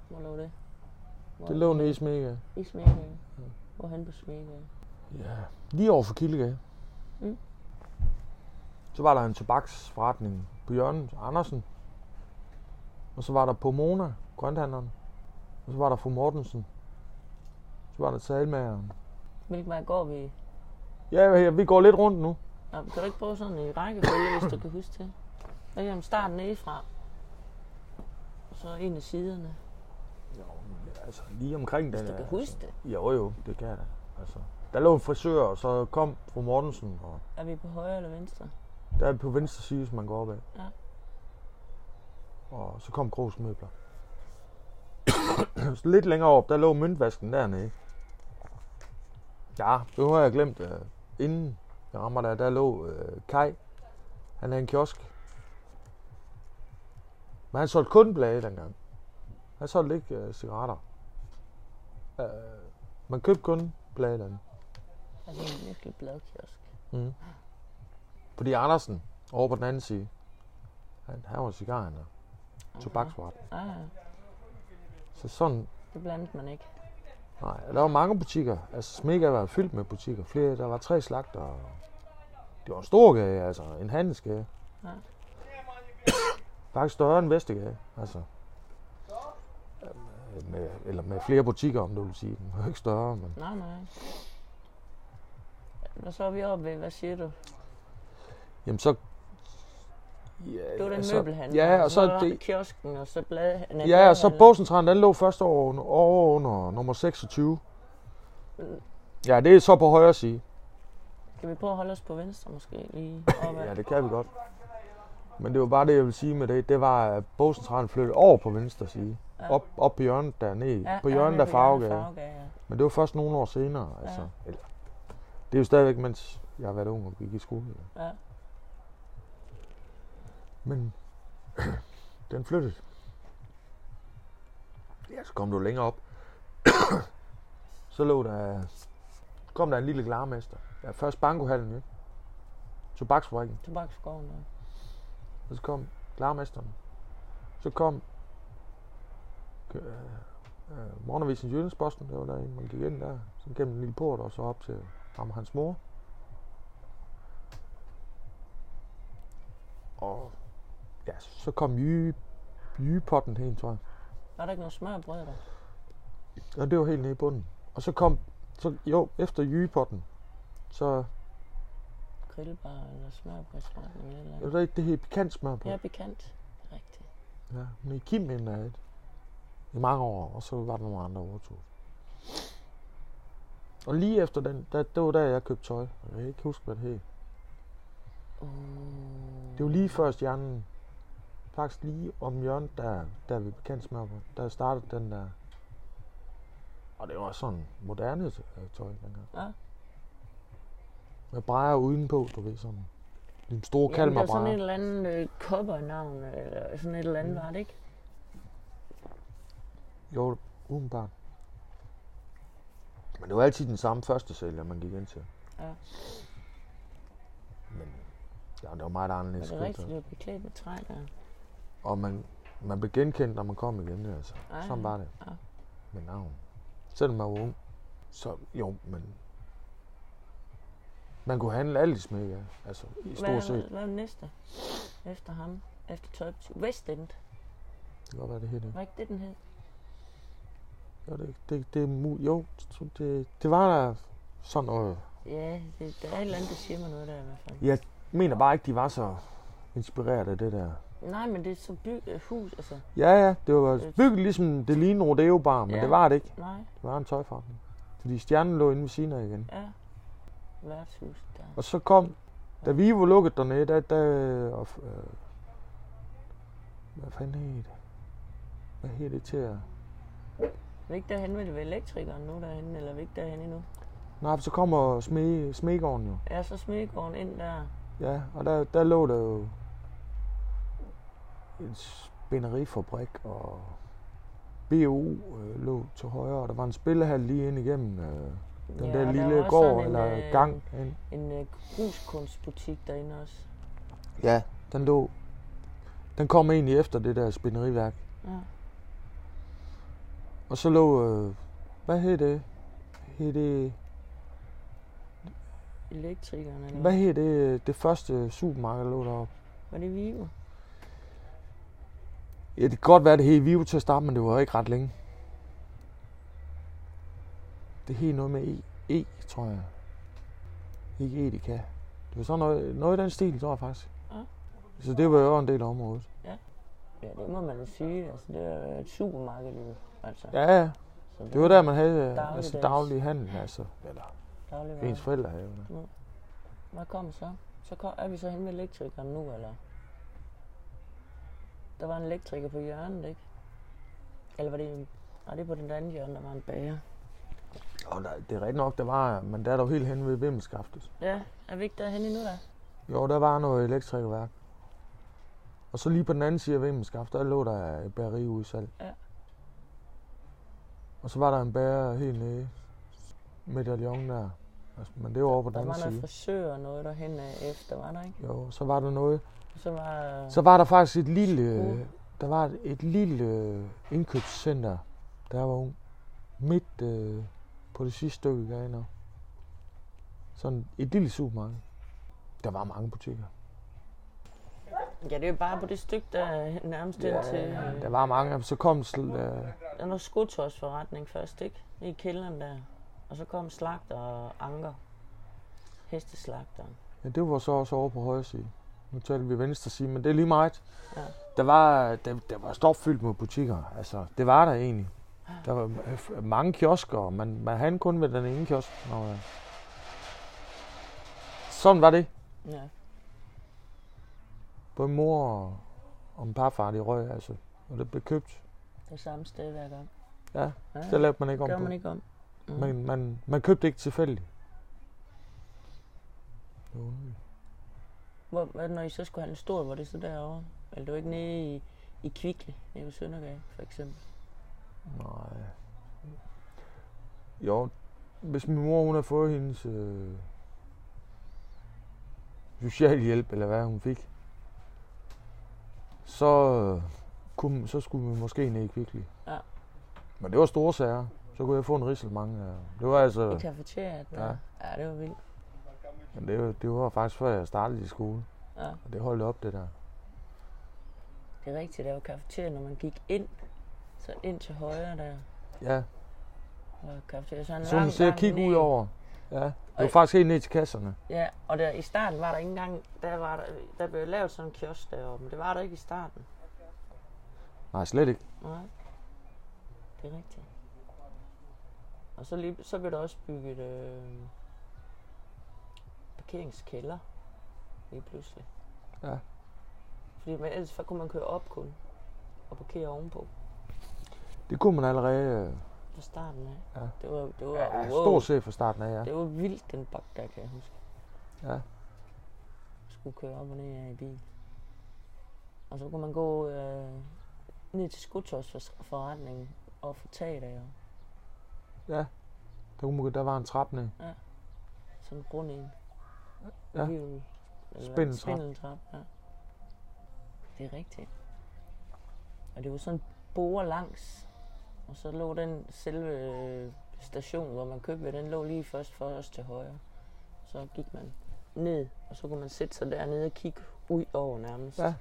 Hvor lå det? Hvor
Det lå nede i Smega.
I Smedegade. Hvorhen på Smedegade?
Ja. Lige over for Kildegade.
Mm.
Så var der en tobaksforretning på hjørnet, Andersen. Og så var der Pomona, grønthandleren. Og så var der fru Mortensen. Så var der salmageren.
Hvilken vej går vi?
Ja, ja, vi går lidt rundt nu.
Nå, kan du ikke prøve sådan i rækkefølge, hvis du kan huske det? Hvad kan man starte nedefra? Og så en af siderne,
Altså, lige omkring den.
hvis du kan
altså.
huske det.
Jo, jo, det kan jeg da. Altså, der lå en frisør, og så kom fru Mortensen, og
Er vi på højre eller venstre?
der er på venstre side, som man går op ad.
Ja.
Og så kom Krogs Møbler. så lidt længere op, der lå møntvasken dernede. Ja, det har jeg glemt. øh, Inden jeg rammer der, der lå øh, Kai. Han havde en kiosk. Men han solgte kun blade dengang. Han solgte ikke øh, cigaretter. Øh, man købte kun blade derinde.
Altså en virkelig bladkiosk.
Fordi Andersen, over på den anden side, han, han var øh, cigaren og tobaksvart.
Ah, ja.
Så sådan,
det blandede man ikke.
nej, og der var mange butikker. Altså Smega var fyldt med butikker. Flere, der var tre slagter. og Det var en stor gade, altså en handelsgade.
Ja.
Ja. Faktisk større end Vestergade, altså. Øh, Med, eller med flere butikker, om du vil sige. Den var ikke større, men
Nej, nej. Og så er vi oppe ved, hvad siger du?
Jamen så... Ja,
Det var den
altså-
møbelhandel.
Ja, og så,
var
så
der
det,
kiosken, og så blad... nej,
ja, og så
bladhandlen.
Bosentrand, den lå først over, under- over under nummer 26.
Mm.
Ja, det er så på højre side.
Kan vi prøve at holde os på venstre måske lige opad?
Ja, det kan vi godt. Men det var bare det, jeg ville sige med det. Det var, at Bosentrand flyttede over på venstre side.
Ja.
Op, op på hjørnet dernede. på
nede
hjørnet af
på
Farvegade.
Farvegade, ja.
Men det var først nogle år senere, altså. Ja. Eller, det er jo stadigvæk, mens jeg har været ung og gik i skole.
Ja.
Men den flyttede. Ja, så kom du længere op. så lå der, kom der en lille glarmester. Ja, først bankohallen, ikke? Tobaksfabrikken.
Tobaksskoven. ja.
Og så kom klarmesteren. Så kom øh, øh, morgenavisen Jyllandsposten, der var der en, man gik ind der, så gennem en lille port og så op til ham og hans mor. Og ja, så kom Jy, Jypotten hen, tror jeg.
Var der ikke noget smørbrød der?
Og det var helt nede i bunden. Og så kom, så, jo, efter Jypotten, så,
Grillbar eller smørbrødsforretning eller et
jeg
eller
ved ikke, det hed pikant
andet. Ja,
smørbrød.
bekendt. Rigtigt.
Ja, men i Kim inden af et. I mange år, og så var der nogle andre der overtog. Og lige efter den, der, det var der, jeg købte tøj. Og Jeg kan ikke huske, hvad det hed.
Uh,
Det var lige før stjernen. Faktisk lige om hjørnet, der, der vi bekendt smør på. Der startede den der... Og det var sådan moderne øh, tøj dengang.
Ja.
Med brejer udenpå, du ved sådan. Den store
Jamen, der
kalmer
er sådan et
brejer.
eller andet øh, kobbernavn, øh, eller sådan et eller
Mm.
andet, var det ikke?
Jo, udenbart. Men det var altid den samme første sælger, man gik ind til.
Ja.
Men ja, det var meget
Var
anderledes.
det
skønt,
rigtigt,
altså.
det var beklædt med træ der?
Og man, man blev genkendt, når man kom igen. Altså.
Ja,
Sådan
ja.
var det.
Ja.
Med navn. Selvom man var ung. Så jo, men... Man kunne handle alt i smæk, ja. Altså, i
Hvad,
stort set.
hvad er det næste? Efter ham? Efter tøjbutik? Vestend?
Det kan godt være, det hele.
Var ikke det, den hed?
Jo, det, det, det er mu- jo, så det, det var der sådan noget.
Ja, det, der er et eller andet, der siger mig noget der i hvert fald.
Jeg mener bare ikke, de var så inspireret af det der.
Nej, men det er så by, øh, hus, altså.
Ja, ja, det var bygget ligesom det lignede en rodeo bar, men
Ja.
det var det ikke.
Nej,
Det var en tøjforretning. Fordi stjernen lå inde ved siden af igen.
ja. Værtshus der.
Og så kom, da vi var lukket dernede, der, der og, øh, hvad fanden hed det? Hvad hed det til at...
Er vi ikke derhen ved det ved elektrikeren nu derhen, eller er vi ikke derhen endnu?
Nej, så kommer smed, smedgården jo.
Ja, så smedegården ind der.
Ja, og der, der lå der jo en spænderifabrik, og BO øh, lå til højre, og der var en spillehal lige ind igennem øh, den
ja,
der
og
lille
var også
gård
sådan
eller
øh,
gang ind.
En øh, gruskunstbutik derinde også.
Ja, den lå... Den kom egentlig efter det der spinderiværk.
Ja.
Og så lå... Øh, hvad hed det? Hed det
Elektrikeren, eller
hvad hed det, det første supermarked, der lå deroppe?
Var det Vivo?
Ja, det kan godt være, det hed Vivo til at starte, men det var ikke ret længe. Det hed noget med E, e tror jeg. Ikke Edeka. Det var sådan noget, noget i den stil, tror jeg faktisk.
Ja.
Så det var jo en del af området.
Ja, det må man jo sige. Altså, det er jo et supermarked, jo. Altså,
Ja, ja.
så
Det var der, man havde daglig altså,
Dagligdags.
daglig handel. Altså. Eller
dagligvarer.
ens forældre havde. jo det.
Hvad kom så? Så kom, er vi så henne ved elektrikeren nu, eller? Der var en elektriker på hjørnet, ikke? Eller var det en... Nej, det er på den anden hjørne, der var en bager.
Og der, det er rigtigt nok, der var, men der er dog helt hen ved Vimmelskaftet.
Ja, er vi ikke derhenne endnu, da?
Jo, der var noget elektrikerværk. Og så lige på den anden side af Vimmelskaftet, der lå der et bageriudsalg.
Ja.
Og så var der en bager helt nede. Medaljon der. Altså, men det var over på den
Der
anden
var noget
side.
frisør og noget derhen øh, efter, var der ikke?
Jo, så var der noget.
Så var...
Så var der faktisk et lille,
Uh.
der var et, et lille øh, indkøbscenter, der var ung. Midt øh, på det sidste stykke gaden. op. Sådan et lille supermarked. Der var mange butikker.
Ja, det er jo bare på det stykke, der er nærmest ja, indtil... øh,
Der var mange af dem. Så kom sl- øh,
Der var noget skotøjsforretning først, ikke? I kælderen der. Og så kom slagter og anker. Hesteslagteren.
Ja, det var så også over på højre side. Nu talte vi venstre side, men det er lige meget.
Ja.
Ja. Der, var, der, der var stopfyldt med butikker. Altså, det var der egentlig. Der var øh, f- mange kiosker, og man, man havde kun ved den ene kiosk. Når, øh. Sådan var det.
Ja.
Både mor og, og en parfar, de røg, altså. Og det blev købt.
Det samme sted hver gang.
Ja,
ja.
Det lavede man ikke om
gør
på.
man ikke om. Mm.
Man, man, man købte ikke tilfældigt. Det var underligt.
Hvor, hvad, når I så skulle have den stor, var det så derovre? Eller det var ikke nede i, i Kvikle, nede ved Søndergade, for eksempel?
Nej. Jo, hvis min mor hun har fået hendes øh, socialhjælp, eller hvad hun fik, så, øh, kunne, så skulle vi måske ned i Kvickly.
Ja.
Men det var store sager. Så kunne jeg få en risselmange. Ja. Det var
I
altså...
kafeteriet?
Ja.
Ja. ja, det var vildt.
Men det, var- det var faktisk før jeg startede i skole.
Ja.
Og det holdt op, det der.
Det er rigtigt, der var kafeteriet, når man gik ind. Så ind til højre der
Ja,
var kafeteriet. Så en
så man
lang
ser
gang
kigge
ned.
ud over. Ja, det var
Ej.
faktisk helt ned til kasserne.
Ja, og der, i starten var der ikke engang, der, var der, der blev lavet sådan en kiosk deroppe, men det var der ikke i starten.
Nej, slet ikke.
Nej, det er rigtigt. Og så, lige, så blev der også bygget øh, parkeringskælder lige pludselig.
Ja.
Fordi man, ellers så kunne man køre op kun og parkere ovenpå
Det kunne man allerede... Øh,
fra starten af.
Ja.
Det var, det var,
Ja,
wow,
stort set fra starten af, ja.
det var vildt den bak der, kan jeg huske.
Ja.
skulle køre op og ned af i bil. Og så kunne man gå øh, ned til skudtøjsforretningen og få tag der,
Der, kunne man- der var en trappe ned.
sådan en rund en.
Ja.
Hivl, eller
Spindeltrap.
Spindeltrap, ja. Det er rigtigt. Og det var sådan borer langs, og så lå den selve øh, station, hvor man købte, den lå lige først for os til højre. Så gik man ned, og så kunne man sætte sig dernede og kigge ud over nærmest
Ja.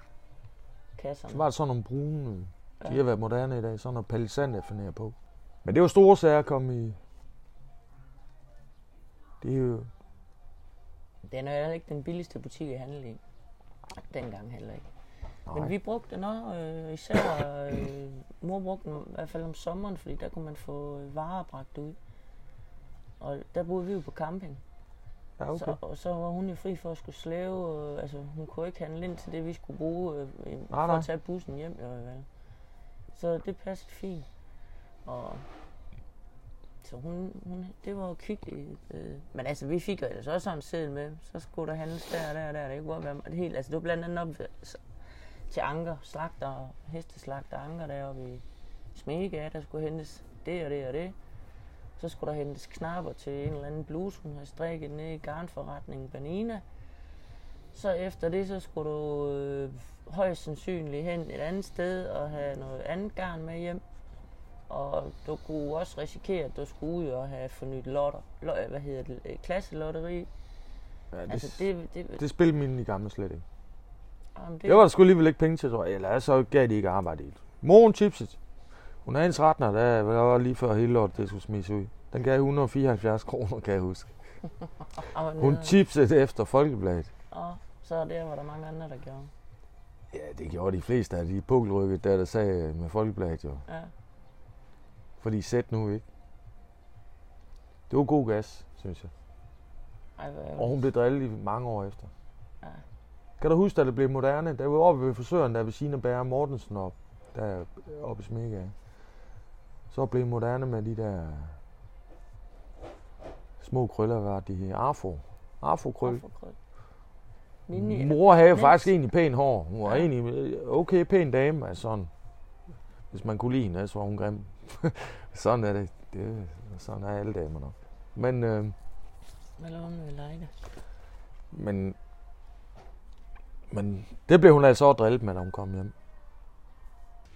kasserne.
Så var der sådan nogle brune, øh, de
Ja.
har været moderne i dag, sådan noget palisand, jeg finder på. Men det var store sager at komme i. Det er jo,
Den er heller ikke den billigste butik at handle i. Dengang heller ikke. Nej.
Nej.
Men vi brugte den også, øh, især øh, mor brugte den i hvert fald om sommeren, fordi der kunne man få øh, varer bragt ud. Og der boede vi jo på camping.
ja, okay.
Så, og så var hun jo fri for at skulle slæve. Øh, altså, hun kunne ikke handle ind til det, vi skulle bruge øh, øh, for
nej.
at tage bussen hjem. I hvert fald. Så det passede fint. Og så hun, hun, det var jo kvikligt. Øh. Men altså, vi fik jo ellers også sådan en seddel med. Så skulle der handles der og der og der. Det kunne godt være det helt. Altså, det var blandt andet op ved- s- til Anker, slagter, hesteslagter Anker deroppe i Smega. Der skulle hentes det og det og det. Så skulle der hentes knapper til en eller anden bluse, hun havde strikket ned i garnforretningen Banina. Så efter det, så skulle du øh, højst sandsynligt hen et andet sted og have noget andet garn med hjem. Og du kunne også risikere, at du skulle ud og have fornyet lotter, lo- hvad hedder det, øh, klasselotteri.
Ja,
Altså
det, altså, det,
det, det, det,
det spillede mine i gamle slet ikke.
jamen, det,
Det var der sgu alligevel ikke penge til, tror jeg. Eller så gav de ikke arbejde i det. Moren chipset. Hun er ens retner, der var lige før hele lortet, det skulle smides ud. Den gav 174 kroner, kan jeg huske.
og,
Hun chipset efter Folkebladet.
og, så der var der mange andre, der gjorde.
Ja, det gjorde de fleste af de pukkelrykket, der der sagde med Folkebladet jo.
Ja.
Fordi sæt nu, ikke? Det var god gas, synes jeg.
Ej, hvor
Og
ærgerligt.
hun blev drillet i mange år efter.
Ja.
Kan du huske, da det blev moderne? Der var oppe ved frisøren, der ved Sina Bære Mortensen op, der oppe i Smega. Så blev moderne med de der små krøller, var de afro. Afro-krøl.
Afrokrøl. Mini-
Mor havde jo
Men-
faktisk egentlig pæn hår. Hun var
Ja.
egentlig øh, okay pæn dame, altså sådan. Hvis man kunne lide hende, så var hun grim. sådan er det. det. Sådan er alle damer nok. Men, øh,
Hvad laver hun ved Lejde?
men, men det blev hun altså også drillet med, da hun kom hjem.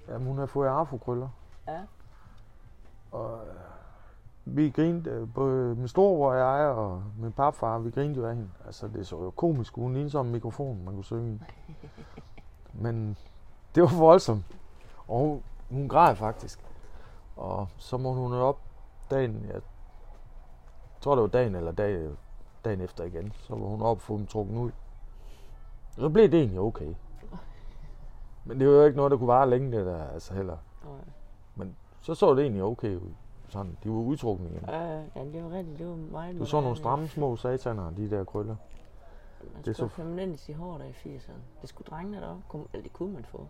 Jamen, hun havde fået afrokrøller.
Ja.
Og øh, vi grinte, øh, både min storebror og jeg og min papfar, vi grinte jo af hende. Altså, det så jo komisk, hun lignede som en mikrofon, man kunne synge i. Men det var voldsomt. Og hun, hun græd faktisk. Og så må hun op dagen, jeg tror det var dagen eller dag, dagen efter igen, så var hun op og få dem trukket ud. Så blev det egentlig okay. Men det var jo ikke noget, der kunne vare længe, det der altså heller
Og,
så så det egentlig okay ud. Sådan, de var udtrukne igen.
Øh, ja, det var rigtigt. Det var meget
Du så nogle
moderne.
stramme små sataner, de der krøller.
Man
Det er
det skulle
så-
så... permanent i hår der i 80'erne. Det skulle drengene da også. Kunne, eller det kunne man få.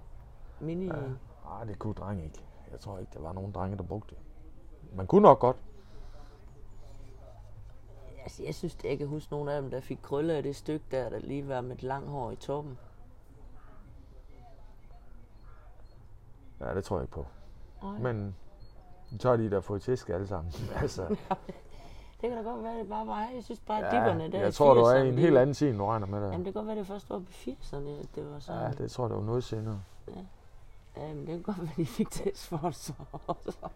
Mini... Ja.
Ja. Nej, det kunne drenge ikke. Jeg tror ikke, der var nogen drenge, der brugte det. Man kunne nok godt.
Altså, jeg synes, jeg kan huske nogle af dem, der fik krøller af det stykke der, der lige var med et langt hår i toppen.
Nej, det tror jeg ikke på.
Nej.
Men nu tager de der får tæsk alle sammen. altså,
Det kan da godt være, det bare var. Jeg synes bare, at dipperne der
ja,
i
jeg tror, du er i
80'erne,
en
de-
helt anden tid, end du regner med
Jamen,
det.
det kan godt være, det først var på 80'erne, at det var sådan.
Ja, det tror jeg, det var noget senere.
Jamen, det kan godt være, de fik tæsk for det så også.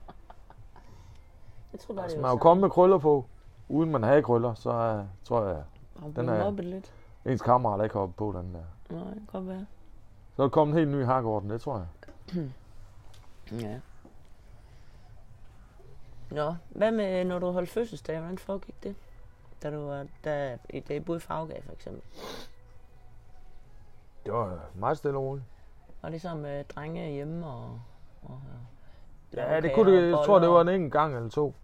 Jeg tror bare,
Altså,
det
man er
var
jo kommet med krøller på. Uden man havde krøller, så uh, tror jeg,
sådan.
den
Den er...
er-
mobbet lidt.
ens kammerater ikke har hoppet på den der.
Nej, det kan godt være.
Så er der kommet en helt ny hakkeorden, det tror jeg.
Ja. Nå, hvad med, når du holdt fødselsdag, hvordan foregik det? Da du var, da, i dag boede i Faggav, for eksempel.
Det var øh, meget stille og roligt.
Var det så med drenge hjemme og... og øh,
Ja, det kunne det, jeg tror, det var en enkelt gang eller to.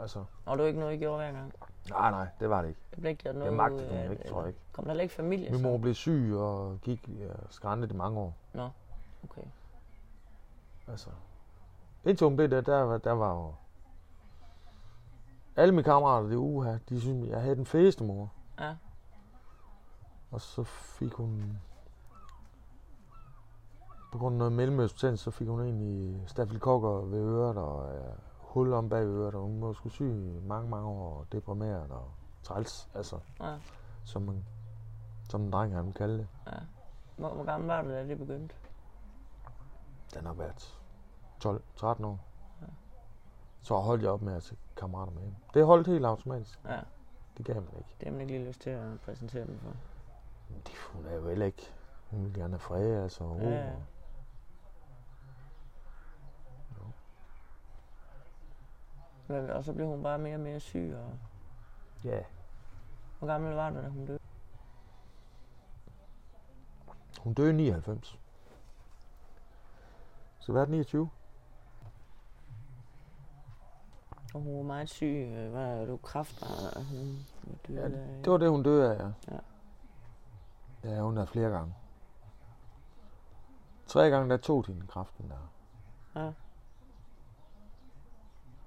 Altså,
Og du ikke noget, I gjorde hver gang?
nej, nej, det var det ikke.
Det blev ikke gjort noget
Jeg magtede
ud
det
af
ikke,
det,
tror
eller-
jeg ikke.
Kom der heller ikke familie?
Min
så?
mor blev syg og gik uh, skræntet i mange år.
Okay.
Altså, indtil hun blev der, der, var- der var jo... Alle mine kammerater, det uha, de synes, jeg havde den fedeste mor.
Ja.
Og så fik hun... På grund af noget mellemøstbetændelse, så fik hun egentlig stafylokokker ved øret og øh, hul om bag øret, og hun var skulle syg i mange, mange år, og deprimeret og træls, altså,
Ja.
som, man, som en dreng, han ville kalde det.
Hvor, hvor gammel var du, da det begyndte?
Den har været 12-13 år. Så holdt jeg op med at se kammerater med hende. Det holdt helt automatisk.
Ja,
Det gav man ikke.
det har man ikke lige lyst til at præsentere dem for.
Men det, hun er jo heller ikke. Hun vil gerne have fred, altså. og ro.
Ja, ja. Men, og så blev hun bare mere og mere syg, og
ja.
hvor gammel var du, da hun døde?
Hun døde i 99. Så hvad er det, 29?
Og hun var meget syg, øh, var du kræft, og hun øh, var død
Ja,
af-
Det var det, hun døde af, ja.
Ja.
Ja, hun er flere gange. Tre gange, der tog de den kraften der.
Ja.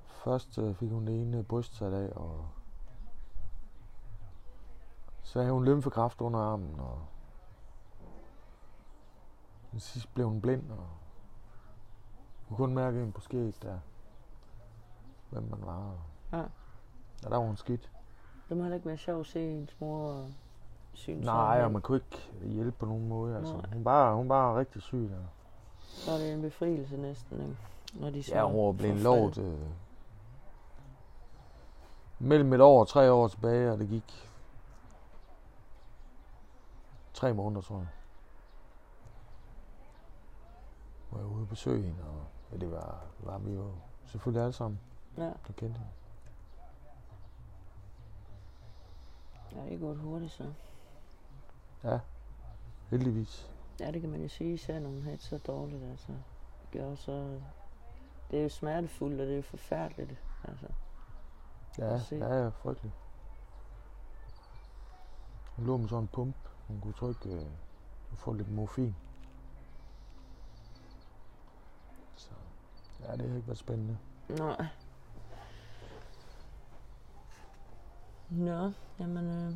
Først øh, fik hun det ene bryst sat af, og så havde hun lymfekræft under armen, og til sidst blev hun blind, og hun kunne kun mærke ind på skægget der, hvem man var. Og...
Ja.
Og der var hun skidt.
Det må heller ikke være sjovt at se ens mor og synes.
Nej, og man kunne ikke hjælpe på nogen måde. Altså.
Nej.
Hun, var, hun var rigtig syg. Der.
Så er det en befrielse næsten, ikke? Når de så
Ja, hun var blevet
får
lovet øh, mellem et år og tre år tilbage, og det gik tre måneder, tror jeg. Hvor jeg var ude og besøge hende, og ja, det var, var vi jo selvfølgelig alle sammen,
fred. Ja,
der kendte hende.
ja, det er gået hurtigt så.
Heldigvis.
Ja, det kan man jo sige, især når man har det så dårligt, altså. Det gør så... Det er jo smertefuldt, og det er jo forfærdeligt, altså.
Ja,
se.
ja, ja, frygteligt. Hun lå med sådan en pump. Hun kunne trykke øh, og få lidt morfin. Så ja, det har ikke været spændende.
Nej. Nå, jamen... Øh,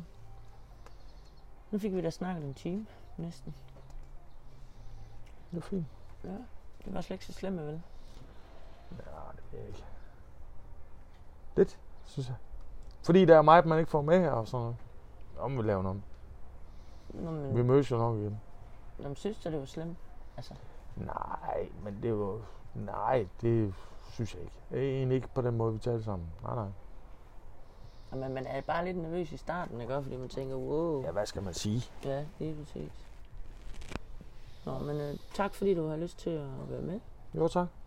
nu fik vi da snakket en time, næsten.
Det var fint.
Ja, det var slet ikke så slemt, vel?
Ja, det ved jeg ikke. Lidt, synes jeg. Fordi der er meget, man ikke får med her og sådan noget. Om vi laver noget.
Nå,
Vi
men,
mødes jo nok igen.
nå, men synes du, det var slemt?
Nej, men det var... Nej, det synes jeg ikke. Egentlig ikke på den måde, vi taler sammen. Nej, nej.
Jamen, man er bare lidt nervøs i starten, ikke? Fordi man tænker, wow.
Ja, hvad skal man sige?
Ja, lige præcis. Nå, men øh, tak fordi du har lyst til at være med.
Jo, tak.